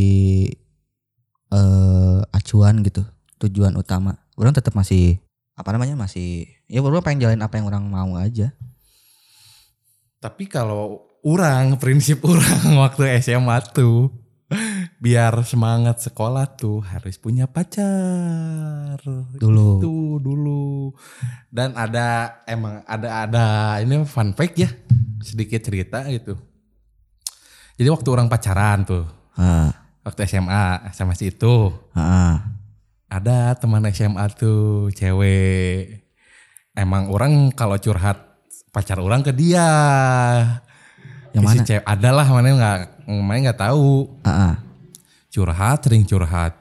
eh acuan gitu, tujuan utama. Orang tetap masih apa namanya masih ya orang pengen jalanin apa yang orang mau aja. Tapi kalau orang prinsip orang waktu SMA tuh biar semangat sekolah tuh harus punya pacar. Dulu. Itu dulu. Dan ada emang ada ada ini fun fact ya sedikit cerita gitu. Jadi waktu orang pacaran tuh Ah, waktu SMA sama si itu Heeh. ada teman SMA tuh cewek emang orang kalau curhat pacar orang ke dia Yang Ke si mana? cewek adalah mana nggak mana nggak tahu Heeh. curhat sering curhat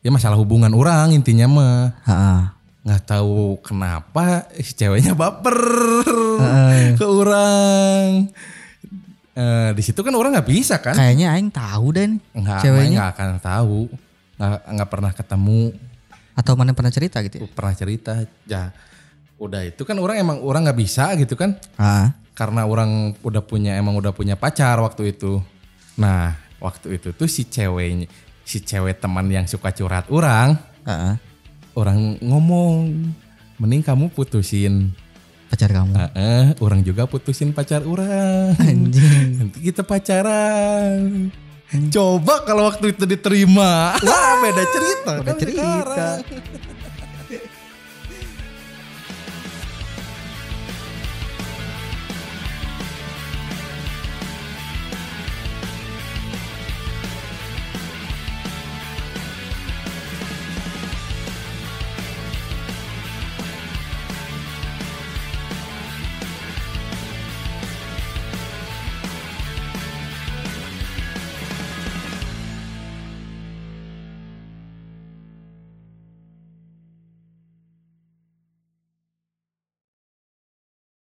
ya masalah hubungan orang intinya mah Heeh. nggak tahu kenapa si ceweknya baper ke orang Eh, di situ kan orang nggak bisa kan Kayaknya aing tahu deh nih nggak ceweknya. nggak akan tahu nggak nggak pernah ketemu atau mana pernah cerita gitu ya? pernah cerita ya udah itu kan orang emang orang nggak bisa gitu kan Heeh. karena orang udah punya emang udah punya pacar waktu itu nah waktu itu tuh si ceweknya si cewek teman yang suka curhat orang Heeh. orang ngomong mending kamu putusin Pacar kamu. Heeh, orang juga putusin pacar orang Anjing. nanti kita pacaran coba kalau waktu itu diterima wah beda cerita Beda kan cerita. sekarang.